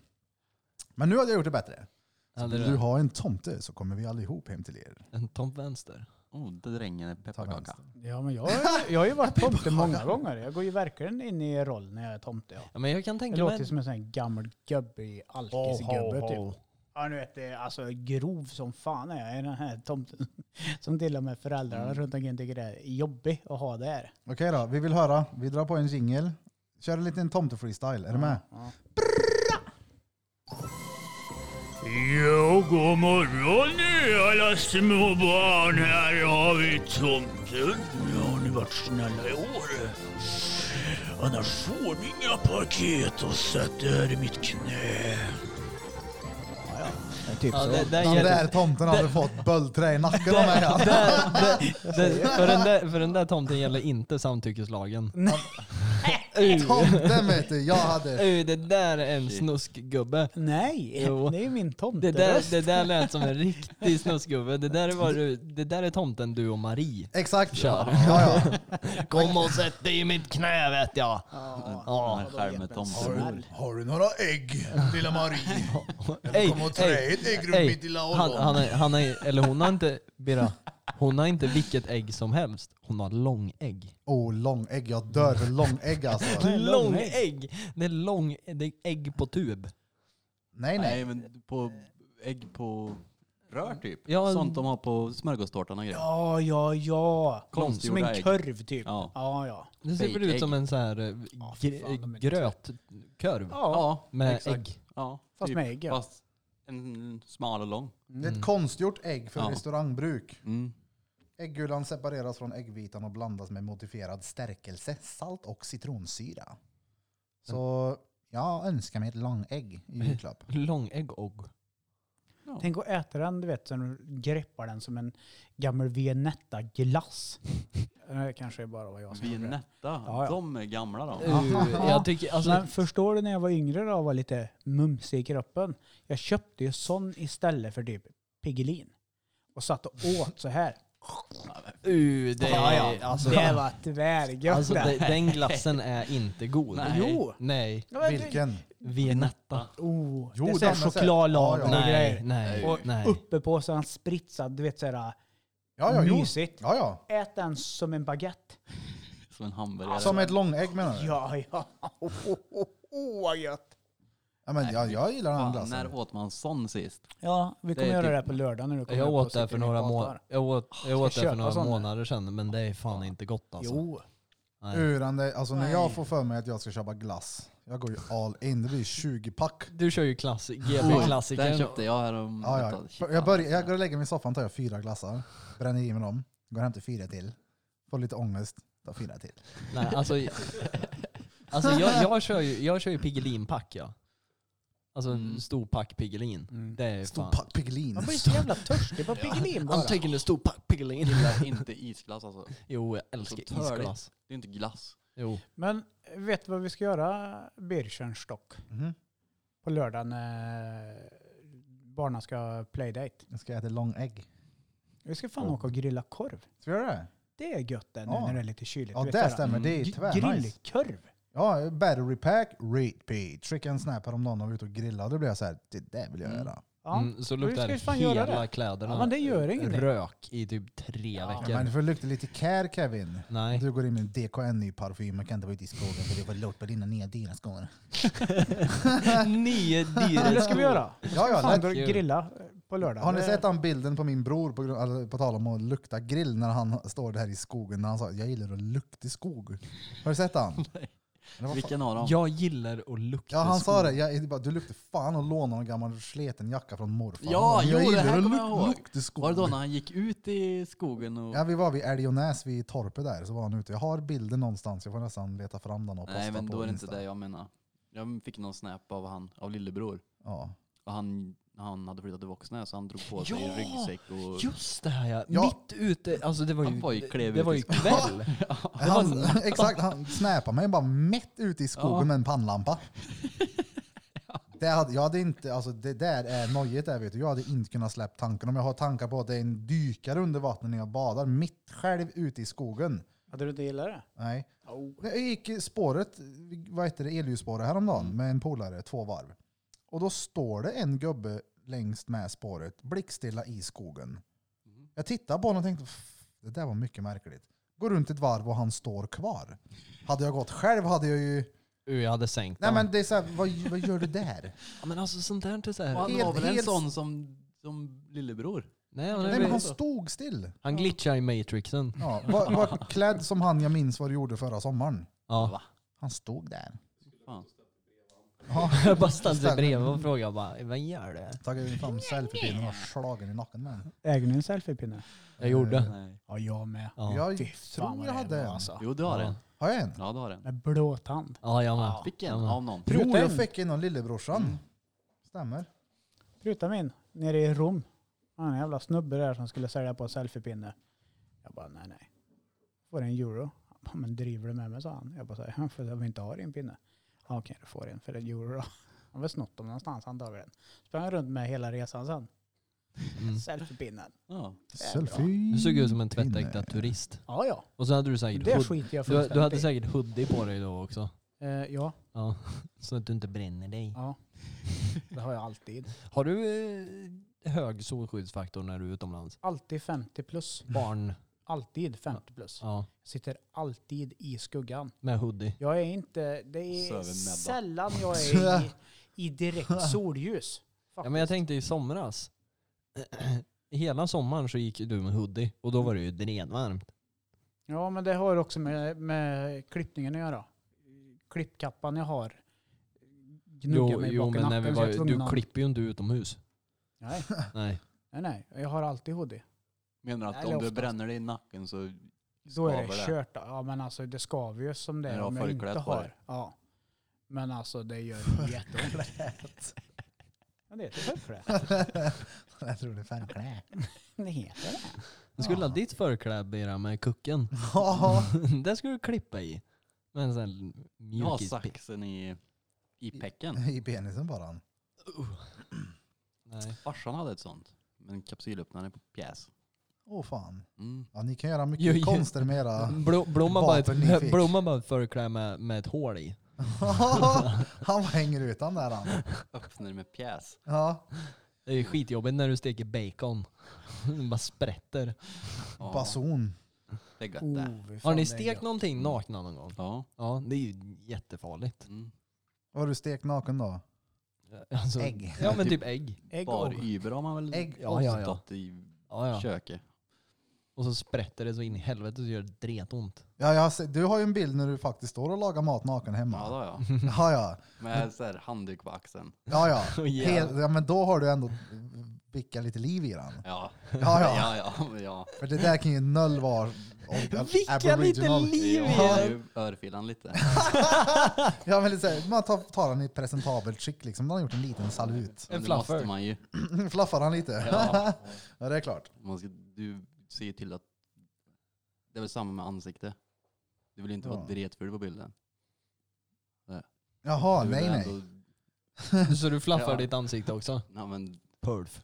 Men nu hade jag gjort det bättre. Så Hade vill du du ha en tomte så kommer vi allihop hem till er. en tom vänster? Oh, det dränger en Ta pepparkaka. vänster. Ja, men jag, har ju- jag har ju varit tomte många gånger. Jag går ju verkligen in i roll när jag är tomte. Ja. Ja, men jag kan Jag tänka låter mig... ju som en sån här gammal gubbe i alkisgubbe typ. Ja, nu vet det är alltså grov som fan är jag i den här tomten. Som till och med föräldrarna Mm. runt omkring tycker det är jobbigt att ha det här. Okej då, vi vill höra. Vi drar på en jingel. Kör en liten tomte-freestyle. Är du med? Ja. Jo, god morgon nu alla små barn. Här har vi tomten. Nu har ni varit snälla i år. Annars får ni inga paket och sätt er i mitt knä. Typ Ja, så. det, där Den ger- där tomten hade fått böldträ i nacken av mig. han. där, där, där, för, den där, för den där tomten gäller inte samtyckeslagen. Uh, Tomten vet du, jag hade... uh, det där är en snuskgubbe. Nej, Jo. det är min tomte. Det där, det där lät som en riktig snuskgubbe. Det där, var, du- det där är tomten du och Marie. Exakt. Kör. Ja, Kom och sätt dig i mitt knä vet jag. Den här skärmetomten. Har du några ägg, lilla Marie? Ey, Kom och trä ey, ett ägg runt ey. mitt lilla han, ollon. han, är- han är, eller hon har inte, Birra, hon har inte vilket ägg som helst. Hon har långägg. Oh, långägg. Jag dör för långägg alltså. är långägg? Långägg! Det är lång, det är ägg på tub. Nej, nej. Nej, men på ägg på rör typ. Ja, Sånt de har på smörgåstårtan och grejer. Ja, ja, ja. Som Konstgjorda en ägg. kurv typ. Ja, Ja. ja. Ja, Det ser väl ut Fejkägg. som en sån här eh, fy fan, gr- de är grötkurv Ja, med exakt. ägg. Ja, typ. Fast med ägg, ja. Fast en smal och lång. Det är ett konstgjort ägg för Ja. restaurangbruk. Mm. Äggulan separeras från äggvitan och blandas med modifierad stärkelse, salt och citronsyra. Så jag önskar mig ett långägg i julklapp. Långägg och. Tänk att äta den, du vet, så du greppar den som en gammal Viennetta-glass. Det här kanske bara var jag som gjorde det. Vinetta, Ja, ja. de är gamla de. Uh, jag tycker, alltså, Men förstår du när jag var yngre då och var lite mumsig i kroppen? Jag köpte ju sån istället för typ Piggelin. Och satt och åt så här. uh, det, Ja, ja. alltså, Det var tvärgött alltså, det. det, den glassen är inte god. Nej. Jo! Nej. Ja, men- Vilken? Viennetta. Oh, Jo, det är såhär den är så- chokladlager Ja, ja. och Nej, grejer. nej, Och nej. uppe på så är den spritsad, du vet såhär Typ. Ja, ja, jo. mysigt. Ja, ja. Ät den som en baguette. Som en hamburgare. Som ett långägg menar du? Ja. Ja, ja. Oh, oh, oh, oh, vad gött. men jag, jag gillar alltså. den Fan, glassen. när åt man sån sist? Ja, vi är kommer göra typ- det här på lördag när du kommer Jag upp och åt det sitter för i några, min må datar. jag åt, jag åt det köpa för några sån där. månader sedan men det är fan inte gott alltså. Jo, Nej. Urande, alltså när jag får för mig att jag ska köpa glass, jag går ju all in. Det blir 20 pack. Du kör ju klass, Den GB-klassikern. köpte jag härom... Ja, ja. Jag, börjar, jag går och lägger mig i soffan, tar jag fyra glassar, bränner i mig dem, går hem till fyra till, får lite ångest, tar fyra till. Nej, alltså, alltså jag, jag kör ju, jag kör ju Piggelinpack ja. Alltså en stor pack Piggelin. Det är Stor fan. pack Piggelin. Mm. man blir så jävla törstig på Piggelin bara. I'm taking a stor pack Piggelin. Alltså, gillar inte isglass alltså. Jo, jag älskar Så törligt. isglass. Det är inte glass. Jo. Men vet du vad vi ska göra, Birchenstock? Mhm. På lördagen när barnen ska playdate. Nu ska jag äta långägg. Vi ska fan åka och grilla korv. Ska vi göra det? Det är gött det nu Ja. när det är lite kyligt. Ja Du vet, det såhär, stämmer, Mm. det är gr- tvärnice. Grillkorv. Ja, battery pack, repeat. Trick and snap häromdagen när vi var ute och grillade. Då blev jag så här, det där vill jag göra. Ja. Mm, så Men vi luktar ska ju fan hela göra det. kläderna Ja, men det gör ingenting. rök i typ tre veckor. Men du får lukta lite care Kevin. Nej. Du går in med en DKN-ny parfym och kan inte vara ute i skogen för det var lort på dina nya dyra skor. Nio Men det dyra ska vi göra. Ja, ja, Fan, lätt. då kul. grilla på lördag. Har ni Det- sett den bilden på min bror, på, grund- eller på tal om att lukta grill, när han står där i skogen när han sa jag gillar att lukta i skog. Har du sett han? Det var fan- Vilken av dem? Jag gillar att lukta Ja han sa skog. det, jag, jag bara, du luktar fan och lånar en gammal sleten jacka från morfar. Ja, jag jo, det här att kommer jag luk- ihåg. lukta skog. Var det då när han gick ut i skogen och... Ja vi var vid Älgonäs vid torpet där, så var han ute. Jag har bilden någonstans, jag får nästan leta fram den och posta Nej men på då är det Insta. inte det jag menar. Jag fick någon snap av han, av lillebror. Ja. Och han, han hade flyttat till Voxnäs så han drog på sig Ja! ryggsäck och... Just det här ja. Ja. Mitt ute, alltså det var ju, Han var ju klev det ut var i ju kväll. Han, exakt, han snäpade mig bara mätt ute i skogen Ja. med en pannlampa. Det hade, jag hade inte, alltså det där är nojigt där vet du. Jag hade inte kunnat släppa tanken. Om jag har tankar på att det är en dykare under vattnet när jag badar, mitt själv ute i skogen. Hade du inte gillat det? Nej. Jag gick i spåret, vad heter det, elljusspåret Mm. häromdagen med en polare, två varv. Och då står det en gubbe längst med spåret, blickstilla i skogen. Mm. Jag tittade på honom och tänkte, "Pff, det där var mycket märkligt. Går runt ett varv och han står kvar. Hade jag gått själv hade jag ju... Uh, jag hade sänkt Nej den. men det är så här, vad, vad gör du där? Ja, men alltså sånt där är inte så Och här. han Helt- var väl en helt- sån som, som lillebror? Nej, han, Nej men han han, stod still. glitchar i matrixen. Ja, var, var klädd som han jag minns vad du gjorde förra sommaren. Ja. Va? Han stod där. Fan. Ja, Jag bara ställde sig bredvid och frågade bara, vad gör du? tagit fram selfiepinnen och slagen i nacken med den. Äger ni en selfiepinne? Jag gjorde. Nej. Ja, jag med. Ja, Jag Fy tror vad jag det hade var, en. Alltså. Jo du har Ja. en. Har jag en? Ja du har en. Med blåtand. ja jag med. Vilken? Jag med. Av någon? Jo, Pruta jag en. fick en av lillebrorsan. Mm. Stämmer. Pruta min nere i Rom. Han är en jävla snubbe där som skulle sälja på selfiepinne. Jag bara nej nej. Får en euro? Han bara, men driver du med mig sa han. Jag bara säger för jag vill inte ha din pinne. Ja okej du får en för en euro då. Han har väl snott dem någonstans antagligen. Sprang han runt med hela resan sen. Mm. Selfiepinnen. Ja. Selfie. Du såg ut som en tvättäkta turist. Ja ja. Och så hade du säkert Det hood- skiter jag du, fullständigt du hade i. säkert hoodie på dig då också. Eh, ja, Ja. Så att du inte bränner dig. ja. Det har jag alltid. Har du eh, hög solskyddsfaktor när du är utomlands? Alltid 50 plus. Barn? Alltid 50 plus. Ja. Sitter alltid i skuggan. Med hoodie? Jag är inte, det är Söver näbba. sällan jag är i, i direkt solljus. Ja, men jag tänkte i somras. Hela sommaren så gick ju du med hoodie och då var det ju drenvarmt. Ja, men det har också med, med klippningen att göra. Klippkappan jag har gnuggar mig bak i nacken. när vi så jag är var, tvungen du att- klipper ju inte utomhus. Nej, Nej. nej, nej. Jag har alltid hoodie. Menar att Eller om du oftast. bränner dig i nacken så... Då är Skaver det det. kört. Ja, men alltså det skaver ju som det När du är har om jag förkläde inte på dig. har. Ja. Men alltså det gör jätteont. Men det heter förkläde. jag tror det är färgklä. Det heter det. Du skulle ha ditt förkläde Bira, med kucken. Ja. det skulle du klippa i. Med en sån här Du har mjukis. saxen i, i pecken. I penisen bara. han. Nej. Farsan hade ett sånt. Med en kapsylöppnare på pjäs. Åh fan. Mm. Ja, ni kan göra mycket Jo, jo. konster med era... Blo, blomma, bara Vapen ni ett, fick. blomma bara ett förkläde med, med ett hål i. han hänger utan där han. Öppnar med pjäs. Ja. Det är ju skitjobbigt när du steker bacon. Det bara sprätter. Ja, Bason. det är gött det. Oh, Har fan, det är ni stekt gött. någonting nakna någon gång? Ja. Ja, det är ju jättefarligt. Mm. Var du stekt naken då? Alltså, Ägg. Ja men typ ägg. Ägg och- Bar Uber har man väl Ägg. Ja, ja, ja. stått i Ja, ja. köket. Och så sprätter det så in i helvete så gör det dretont. Ja, jag har sett- du har ju en bild när du faktiskt står och lagar mat naken Ja, hemma. då, ja. Ja, ja. Med så här handduk på axeln. Ja, ja. Oh, yeah. Helt, ja men då har du ändå vickat lite liv i den. Ja, Ja, ja. ja, ja. men ja. För det där kan ju noll vara... Vicka lite aboriginal. liv Vi i har det! ju örfilan lite. Ja, men lite så här, man tar, tar den i ett presentabelt skick liksom. Man har gjort en liten salut. Men det fluffer. måste man ju. Flaffar han lite? Ja. Ja. det är klart. Man ska, du ser ju till att... Det är väl samma med ansikte. Du vill inte Ja. vara dretful på bilden. Jaha, du vill nej nej. ändå- Så du flaffar Ja. ditt ansikte också? Ja, men Pulf.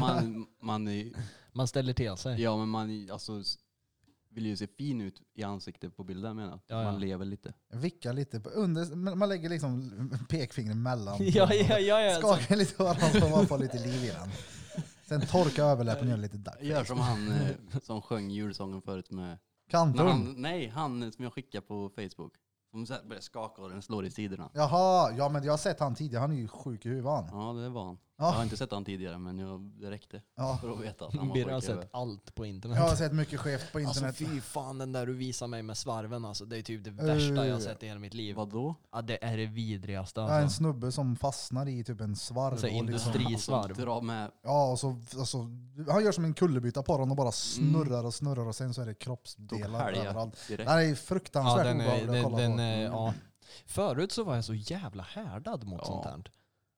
man, man är, Man ställer till sig. ja men man, är- alltså, s- vill ju se fin ut i ansiktet på bilden menar jag. Ja, ja. Man lever lite. Vicka lite på under, men man lägger liksom pekfingret mellan. Ja, ja, ja. Alltså, ja. Så, Skakar lite på varandra så man får lite liv i den. Sen torka överläppen och gör lite duck. Gör som han eh, som sjöng julsången förut med... När Kantorn. han, nej, han som jag skickade på Facebook. Som så här börjar skaka och den slår i sidorna. Jaha, ja men jag har sett han tidigare. Han är ju sjuk i huvudet han. Ja, det var han. Jag har Ja, inte sett han tidigare men jag, det räckte ja. för att veta att han var Birra har sjuk i sett huvudet. allt på internet. Jag har sett mycket skevt på Alltså internet. fy fan den där du visar mig med svarven alltså. Det är typ det värsta jag har sett i hela mitt liv. Vadå? Ja, det är det vidrigaste Ja, en alltså. snubbe som fastnar i typ en svarv. Så här och liksom- industri- Frisvarv. Som drar med Ja, och så, alltså, han gör som en kullerbytta på den och bara snurrar och snurrar och sen så är det tog kroppsdelar helgen överallt. Det direkt. här är ju Ja, fruktansvärt den är, obehagligt att den, kolla den på. Mm. är, ja. Förut så var jag så jävla härdad mot Ja. sånt här.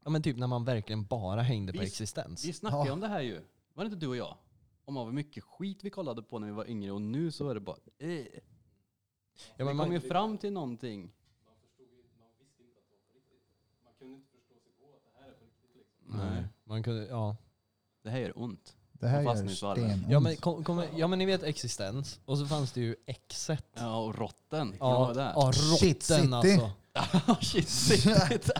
Ja men typ när man verkligen bara hängde på Vi- existens. Vi snackade ju Ja. om det här ju. Var det inte du och jag? Om vad mycket skit vi kollade på när vi var yngre och nu så är det bara... Eh. Ja, vi men kom ju man, fram till någonting. nej, man kunde, ja. Det här gör ont. Det här Den gör fastnar i svarven. stenont. Ja, men, kom, kom, ja men ni vet existens. Och så fanns det ju exet. Ja, och rotten. Ja, Ja, det. ja Shit City. rotten alltså. Shit, shit.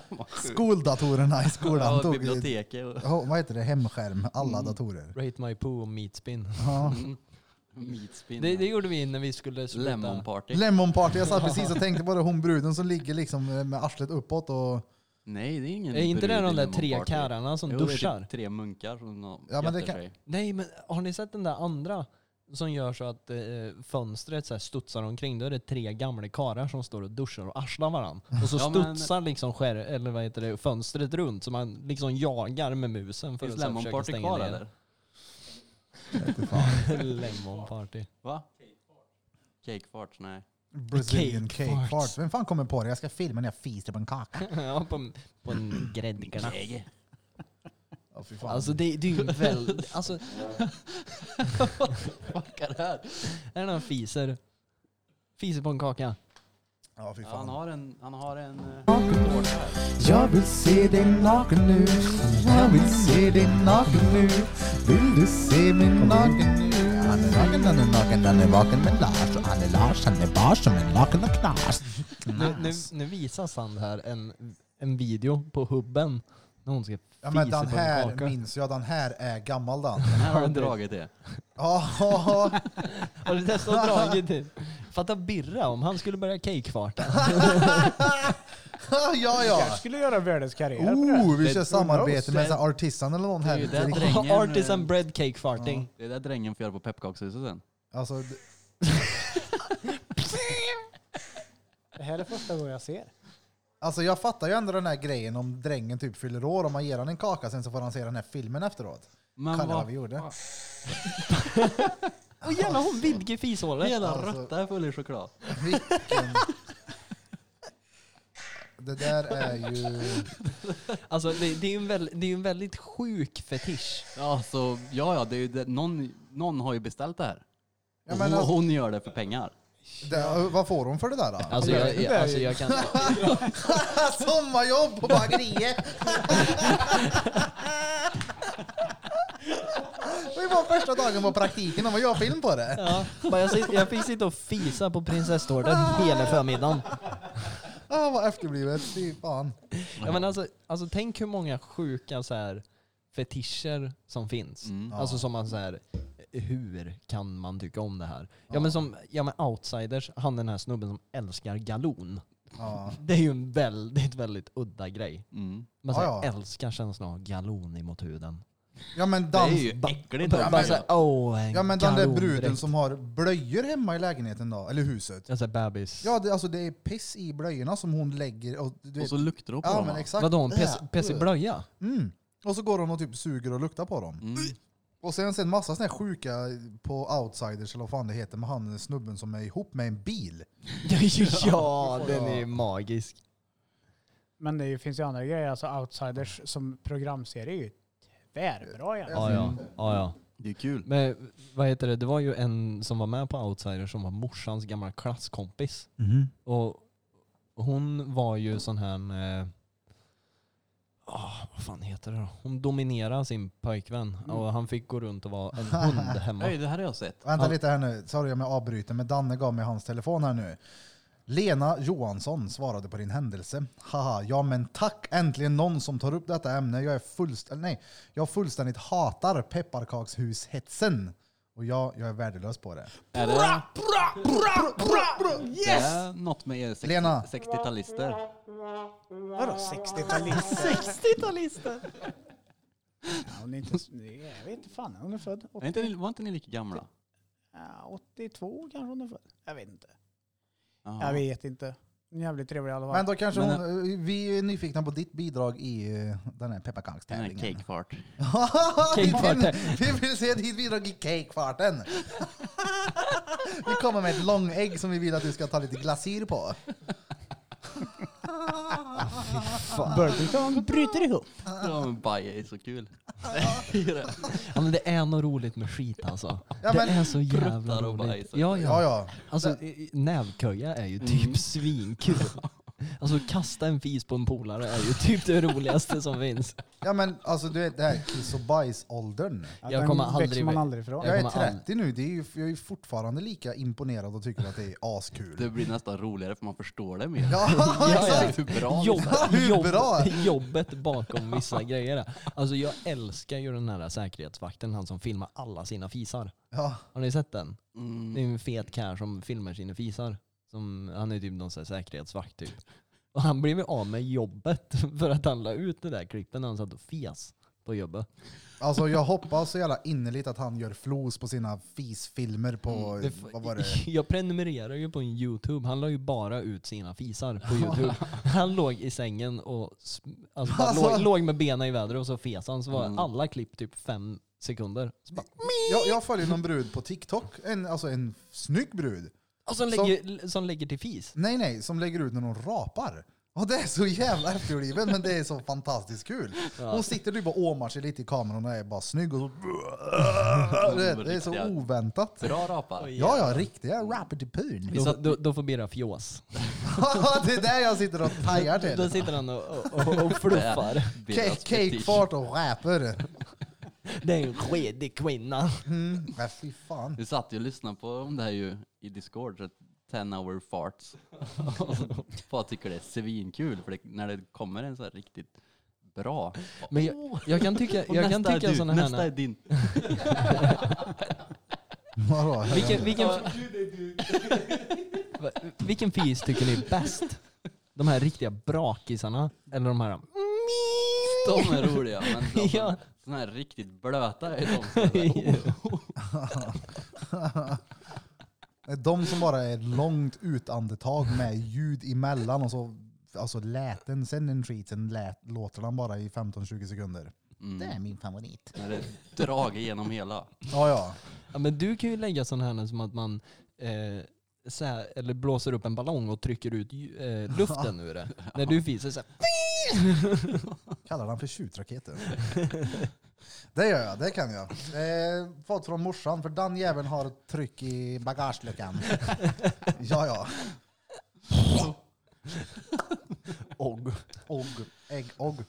Skoldatorerna i skolan Ja, tog... biblioteket och Ja, vad heter det? Hemskärm. Alla Mm. datorer. Rate my poo och meat spin. Ja. meatspinnar. Det, det gjorde vi när vi skulle sluta. Lemon party. Lemon party. Jag satt precis och tänkte på det. Hon bruden som ligger liksom med arslet uppåt och... Nej, det är ingen Är Eh, inte det brud i de där Lemon tre Party? karlarna som Jo, det är typ duschar? tre munkar som har Ja, men det jätter kan- sig. Nej men har ni sett den där andra? Som gör så att eh, fönstret så här studsar omkring. Då är det tre gamla karar som står och duschar och arslar varandra. Och så Ja, men- studsar liksom skär, eller vad heter det, fönstret runt. Så man liksom jagar med musen för Finns att så här Lemon försöka Party stänga kvar ner. eller? Lemon party. Va? Cake fart, nej. Brazilian Cake cake, farts. farts. Vem fan kommer på det? Jag ska filma när jag fiser på en kaka. ja, på, på en gräddknapp. Ja, fy fan. Alltså det, det är ju en väl... Alltså, Fuck är det här? är det någon fiser? Fiser på en kaka. ja, fy Ja, han fan. har en... Han har en... eh, Jag vill se dig naken nu. Jag vill se dig naken nu. Vill du se mig naken nu? Han är naken, han är naken, han är vaken med Lars. Och han är Lars, han är bara som en naken och knas. Nu, nu, nu visar Sand här en, en video på hubben. När hon ska Ja men fisa den på en här kaka. minns jag, den här är gammal den. Den här har du det- dragit det. Ja, Har du testat att dra i det? Fatta Birra om han skulle börja cakefarta. ja, Jag ja. kanske skulle göra världens karriär på det. här. Oh, vi Det- kör samarbete med det- så här artisten eller någon det är ju här. den Riktigt- Drängen, Artisan eh, bread cake farting. Det är det drängen får göra på pepparkakshuset sen. Alltså, d- Det här är första gången jag ser. alltså jag fattar ju ändå den här grejen om drängen typ fyller år och man ger han en kaka sen så får han se den här filmen efteråt. Men Kolla vad vad vi gjorde. Åh jävlar hon vidgar fishålet. Hela Alltså- råtta är full i choklad. Vilken... Det där är ju... Alltså det, det är ju en, väl- det är ju en väldigt sjuk fetisch. Ja, så, ja, ja det är ju det, någon, någon har ju beställt det här. Ja, men Och alltså, hon gör det för pengar. det, vad får hon för det där då? Alltså jag, jag, alltså, jag kan... Sommarjobb på bageriet! Det var första dagen på praktiken, och vad jag film på det. Ja, bara jag, sit- jag fick sitta och fisa på prinsesstårtan hela förmiddagen. Ah, vad efterblivet, fy fan. Ja, men alltså, alltså tänk hur många sjuka så här, fetischer som finns. Mm. Alltså som man så här, hur kan man tycka om det här? Ja, men som ja, men outsiders, han den här snubben som älskar galon. Ja. Det är ju en väldigt, väldigt udda grej. Mm. Man så här, Ja, ja. älskar känslan av galon emot huden. Ja men Det är dans... ju äckligt. Bara, bara så här, åh, en Ja men den där bruden galondräkt." som har blöjor hemma i lägenheten då, eller huset. Ja, så här, bebis. Ja det, alltså det är piss i blöjorna som hon lägger och... Du Och vet, så luktar det på alltså- ja dem. men va? exakt. Vadå, en pess, Äh, pess i blöja? Mm. Och så går hon och typ suger och luktar på dem. Mm. Och sen sen massa såna här sjuka på outsiders eller vad fan det heter med han snubben som är ihop med en bil. ja, den är ju magisk. Men det finns ju andra grejer. Alltså Outsiders som programserie är ju tvärbra egentligen. Alltså, Ja, mm. ja. ja, ja. Det är kul. Men vad heter det, det var ju en som var med på Outsider som var morsans gamla klasskompis. Och hon var ju sån här... eh, ah, vad fan heter det då? Hon dominerade sin pojkvän Mm. och han fick gå runt och vara en hund hemma. Oj, det här har jag sett. Vänta Ja. lite här nu, sorry om jag avbryter, men Danne gav mig hans telefon här nu. Lena Johansson svarade på din händelse. Haha, ja men tack äntligen någon som tar upp detta ämne. Jag är fullständigt, nej, jag fullständigt hatar pepparkakshushetsen. Och ja, jag är värdelös på det. Är det, det Yes! är något med er Lena. 60 60-talister? Vadå 60-talister? 60-talister! Hon är inte, s- jag vet inte fan, hon är född Är inte ni- Var inte ni lika gamla? Ja, 82 kanske hon är född. Jag vet inte. Jaha. Jag vet inte. Hon är Jävligt trevlig i alla Men fall. då kanske Men- hon, eh, vi är nyfikna på ditt bidrag i eh, den här Den här pepparkakstävlingen. cakefart. Cakefarten. Cakefarten. vi vill se ditt bidrag i cakefarten. vi kommer med ett långägg som vi vill att du ska ta lite glasyr på. Burlington bryter ihop. Ja, men Baje är så kul. Det är ju det. Ja, men det är nog roligt med skit alltså. Ja, men- det är så jävla Pruttar och roligt. bajs och- Ja, Ja, Mm. ja. ja. Alltså, i- i- nävköja är ju typ svinkul. Alltså kasta en fis på en polare är ju typ det roligaste som finns. ja men alltså du vet det här kiss och bajs-åldern. Ja, Jag den kommer växer aldrig- man aldrig ifrån. Jag är kommer 30 nu, det är ju, jag är ju fortfarande lika imponerad och tycker att det är askul. Det blir nästan roligare för man förstår det mer. Ja, Det exakt! är hur bra Jobb, Hur jobb, bra? jobbet bakom vissa grejer. är. Alltså jag älskar ju den här säkerhetsvakten, han som filmar alla sina fisar. Ja. Har ni sett den? Det Mm. är en fet karl som filmar sina fisar. Som, han är typ någon sån här säkerhetsvakt typ. Och han blev ju av med jobbet för att han la ut det där klippet när han satt och fes på jobbet. Alltså jag hoppas så jävla innerligt att han gör flos på sina fisfilmer på, Det f- vad var det? Jag prenumererar ju på en YouTube, han la ju bara ut sina fisar på YouTube. han låg i sängen och sm- alltså, bara Alltså. Låg, låg med benen i vädret och så fes han. Så var Mm. alla klipp typ fem sekunder. Så bara, Jag, jag följer någon brud på TikTok, en, alltså en snygg brud. och som, Som- lägger, som... lägger till fis. Nej, nej, som lägger ut när hon rapar. Och det är så jävla efterbliven, men det är så fantastiskt kul. Hon sitter typ och åmar sig lite i kameran och är bara snygg. Och så... det, det är så Riktiga- oväntat. Bra rapar. Ja, ja, riktiga rapper-tipun. Då, då, då får Birra fjås. det är där jag sitter och pajar Då till. sitter han och, och, och, och fluffar. Det är Cake- deras fetisch. Cakefart och rapper. Det är en skedig kvinna. Mm. Men fy fan. Vi satt ju och lyssnade på om det här ju i Discord, så 10 hour farts. Och så Bara tycker det är svinkul, för det, när det kommer en så här riktigt bra. Men jag, jag kan tycka, Och jag kan nästa är tycka du, sådana Nästa är här... din. Vadå? Vilken, vilken, Va- vilken fis tycker ni är bäst? De här riktiga brakisarna? Eller de här... De är roliga, men de som- Ja. såna här riktigt blöta är de som är så här, oh, De som bara är långt utandetag med ljud emellan och så alltså läten, sen den skiten lät, låter den bara i 15-20 sekunder. Det är min favorit. när det drag igenom hela. Ja, ja. Ja, men du kan ju lägga sådana här som att man eh, så här, eller blåser upp en ballong och trycker ut ju- eh, luften ur det. När du fiser så här. Kallar den för tjutraketen. Det gör jag, det kan jag. Eh, fått från morsan, för den jäveln har ett tryck i bagageluckan. Ja, ja. Och, Ogg, ägg, ogg.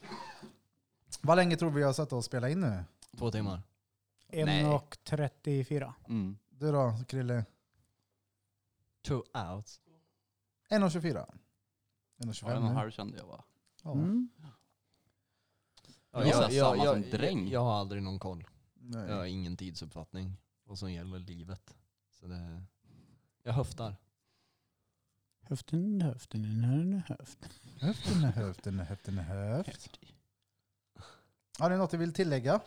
Vad länge tror vi jag har satt och spela in nu? två timmar. 1.34. Mm. Du då, Krille? Two out. 1.24? Var det någon 1.25? halv kände jag va? Ja. Mm. Ja, jag- samma som dräng. Jag, har aldrig någon koll. Nej. Jag har ingen tidsuppfattning. Vad som gäller livet. Så det, jag höftar. Höften, höften, höften, höften. Höften, höften, höften, höft. Har du något du vill tillägga?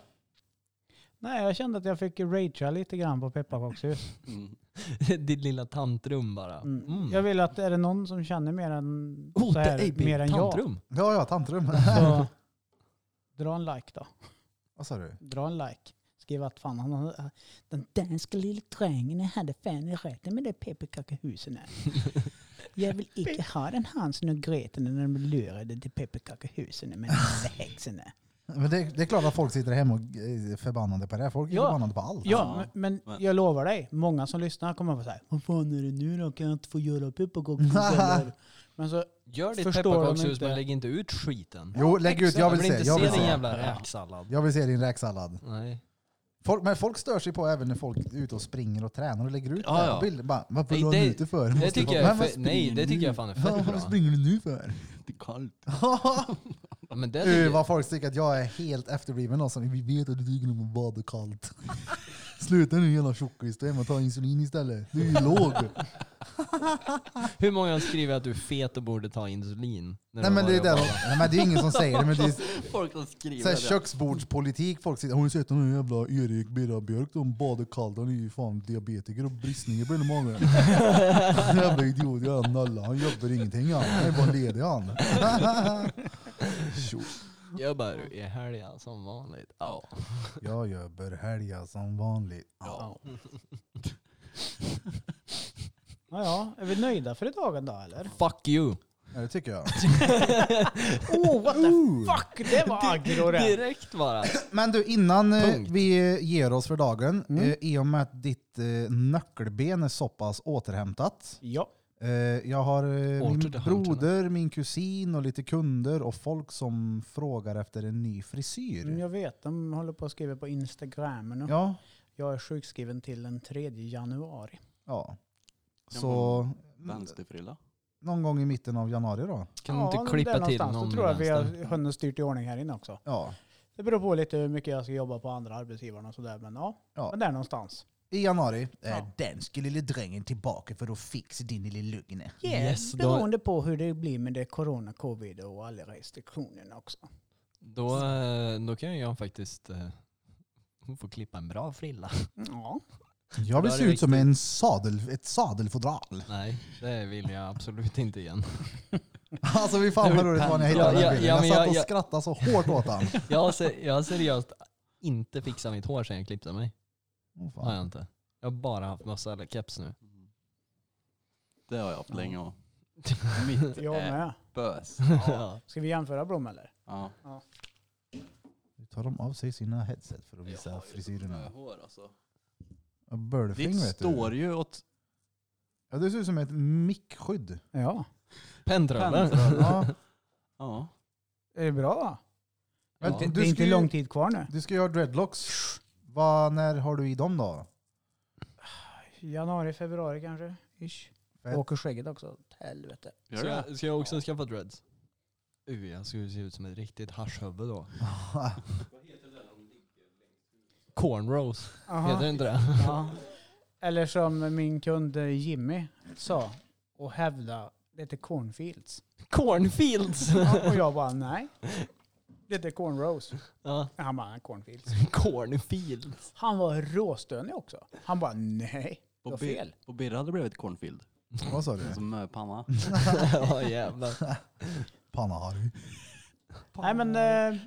Nej, jag kände att jag fick ragea lite grann på pepparkakshus. Mm. Ditt lilla tantrum bara. Mm. Mm. Jag vill att, är det någon som känner mer än, Oh, så det här, är mer än jag, tantrum. Ja, ja, tantrum. så dra en like då. Vad sa du? Dra en like. Skriv att fan, han, den danska lilla drängen hade fan rätt med det pepparkakehusen här. Jag vill inte ha den Hansen och Greten när de blir lurade till pepparkakehusen med den där häxen. där. Men det, det är klart att folk sitter hemma och är förbannade på det. här. Folk är Ja. förbannade på allt. Ja, men, men men- jag lovar dig, många som lyssnar kommer att vara så här. Vad fan är det nu då? Kan jag inte få göra pepparkakshus? eller Men så, Gör ditt Förstår de pepparkakshus inte- men lägg inte ut skiten. Jo, lägg ut. Jag vill se. inte Jag vill din se. jävla räksallad. Jag vill se din räksallad. Nej. Folk, men folk stör sig på även när folk är ute och springer och tränar och lägger ut Ja, det här ja. på bilder. Bara, Vad Nej, vill du ha det- ut det för? Det Måste tycker folk- jag är Men vad för, nej, det tycker jag fan är Ja, fett Vad bra. springer du nu för? Det är kallt. Ja, Men det tycker Uh, jag, vad folk tycker att jag är helt efterbliven. Alltså, vi vet att du tycker om att bada kallt. Sluta nu jävla tjockis. Då är man ta insulin istället. Du är ju låg. hur många har skrivit att du är fet och borde ta insulin? när nej, de men har det är jobbat? där, nej men det är ingen som säger det. Men det är Folk som skriver så här det. köksbordspolitik. Folk sitter, har ni sett den här jävla Erik Birra Björk? De badar kallt. Han är ju fan diabetiker och bristningar på hela magen. jävla idiot. Jag är en nalla. Han jobbar ingenting han. Han är bara ledig han. Tjo. Jag bara, i helgen som vanligt. Ja. jag jobbar helga som vanligt. ja. ja, ja. Är vi nöjda för dagen då eller? Fuck you. Ja, det tycker jag. Oh, what the fuck! Det var aggro det! Direkt bara. Men du, innan eh, Punkt. vi ger oss för dagen, Mm. eh, i och med att ditt eh, nackelben är så pass återhämtat. Ja. Eh, jag har eh, min Återhämtat. broder, min kusin och lite kunder och folk som frågar efter en ny frisyr. Mm, Jag vet, de håller på att skriva på Instagram nu. Ja. Jag är sjukskriven till den 3 januari. ja. Kan Så mm, Vänsterfrilla. någon gång i mitten av januari då. Kan ja, du inte klippa till någon Då tror jag med vi har vänster? hunnit styrt i ordning här inne också. Ja. Det beror på lite hur mycket jag ska jobba på andra arbetsgivaren och sådär. Men ja, Ja. men där någonstans. I januari. Ja. Är Den skulle lille drängen tillbaka för att fixa din lille lugne. Yes, då- beroende på hur det blir med det corona, covid och alla restriktionerna också. Då, eh, då kan jag faktiskt eh, få klippa en bra frilla. Ja, Jag vill Då är se det ut som viktigt. en sadel, ett sadelfodral. Nej, det vill jag absolut inte igen. Alltså vi fan vad roligt det var när jag hittade Ja, den ja, här bilden. ja, Jag men satt jag- och jag- skrattade så hårt åt den. Jag har, se, jag har seriöst inte fixat mitt hår sedan jag klippte mig. Åh, fan. Har jag inte. Jag har bara haft mössa eller keps nu. Det har jag haft länge och Mitt jag med. bös. ja. Ska vi jämföra Blom eller? Ja. Nu tar de av sig sina headset för att visa frisyrerna. Hår, alltså. Bölfing Ditt vet du. står ju åt... Ja, det ser ut som ett mickskydd. Ja. Pendröven. Ja. Ja. Är det bra då? Men Ja. du det är ska inte ju- lång tid kvar nu. Du ska göra dreadlocks. Vad, när har du i dem då? Januari, februari kanske? Ish. Fett. Åker skägget också. Helvete. Gör Ska det? jag, ska jag också skaffa dreads? Uh, jag skulle se ut som ett riktigt haschhuvud då. Cornrows, heter det inte det? Ja. Eller som min kund eh, Jimmy sa, och hävda lite cornfields. Cornfields! Ja, och jag bara nej. Lite cornrows. ja, Han bara cornfields. cornfields. Han var råstönig också. Han bara nej. Det På, var bir, fel. på Birra hade det blivit cornfield. Vad sa du? Som eh, panna. ja jävlar. Panna-Harry. Nej men eh,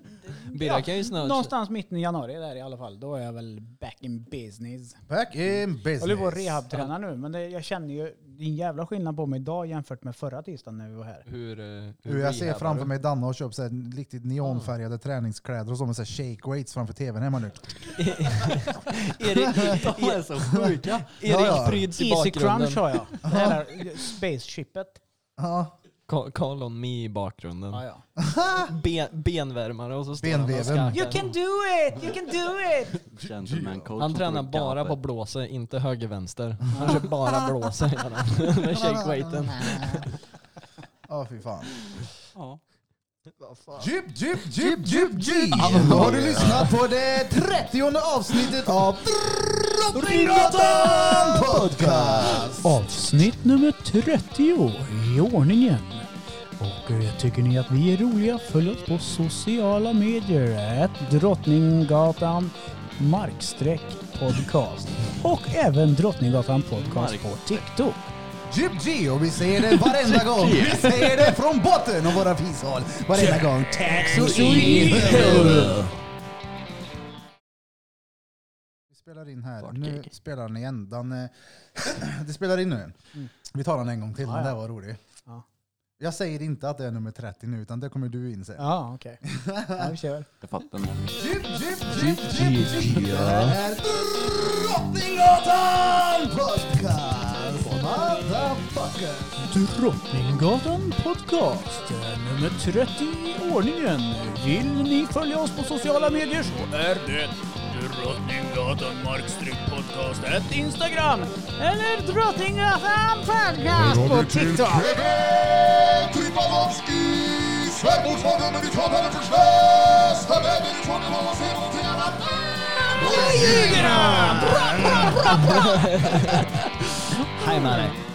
Birra kan ju snart... någonstans mitten i januari där i alla fall. Då är jag väl back in business. Back in business. Jag håller på att rehabträna nu men det, jag känner ju din jävla skillnad på mig idag jämfört med förra tisdagen när vi var här. Hur, eh, hur Du, jag ser rehabar framför du? mig Danne har köpt så här riktigt neonfärgade träningskläder och så med så här shake weights framför tvn hemma nu. Erik, De är så sjuka. Ja, ja. Erik pryds i Easy bakgrunden. crunch har jag. Det här spaceshipet. Ja, Ka- Karl on me i bakgrunden. Ja, ja. Ben, benvärmare och så står han och Benveven. skakar. do it! You can do it! Gentleman coach. Han som tränar tog bara kamper. på blåse, inte höger-vänster. Han kör bara blåse gör han, med shakeweighten. Ja, fy fan. Ja. Jip, jip, jip, jip, jip! Då har du lyssnat på det trettionde avsnittet av Drottninggatan Podcast! Avsnitt nummer 30 i ordningen. Och eh, tycker ni att vi är roliga, följ oss på sociala medier. Ett Drottninggatan markstreck podcast. Och även Drottninggatan podcast på TikTok. Jip, jip, och vi säger det varenda gång. Vi säger det från botten av våra fishål. Varenda gång. Tack så mycket! Vi spelar in här. Nu spelar den igen. Den, eh, det spelar in nu. Vi tar den en gång till. Den där var rolig. Mm. Ja. Jag säger inte att det är nummer 30 nu, utan det kommer du inse. Ja, okej. Ja, vi kör. Det fattar man. Jip, jip, jip, jip, jip. Det här är Drottninggatan Podcast. Motherfuckers. Drottninggatan Podcast, nummer 30 i ordningen. Vill ni följa oss på sociala medier så är det Drottninggatan Markstryk Podcast at Instagram eller Drottninggatan Podcast på TikTok. Hej med dig.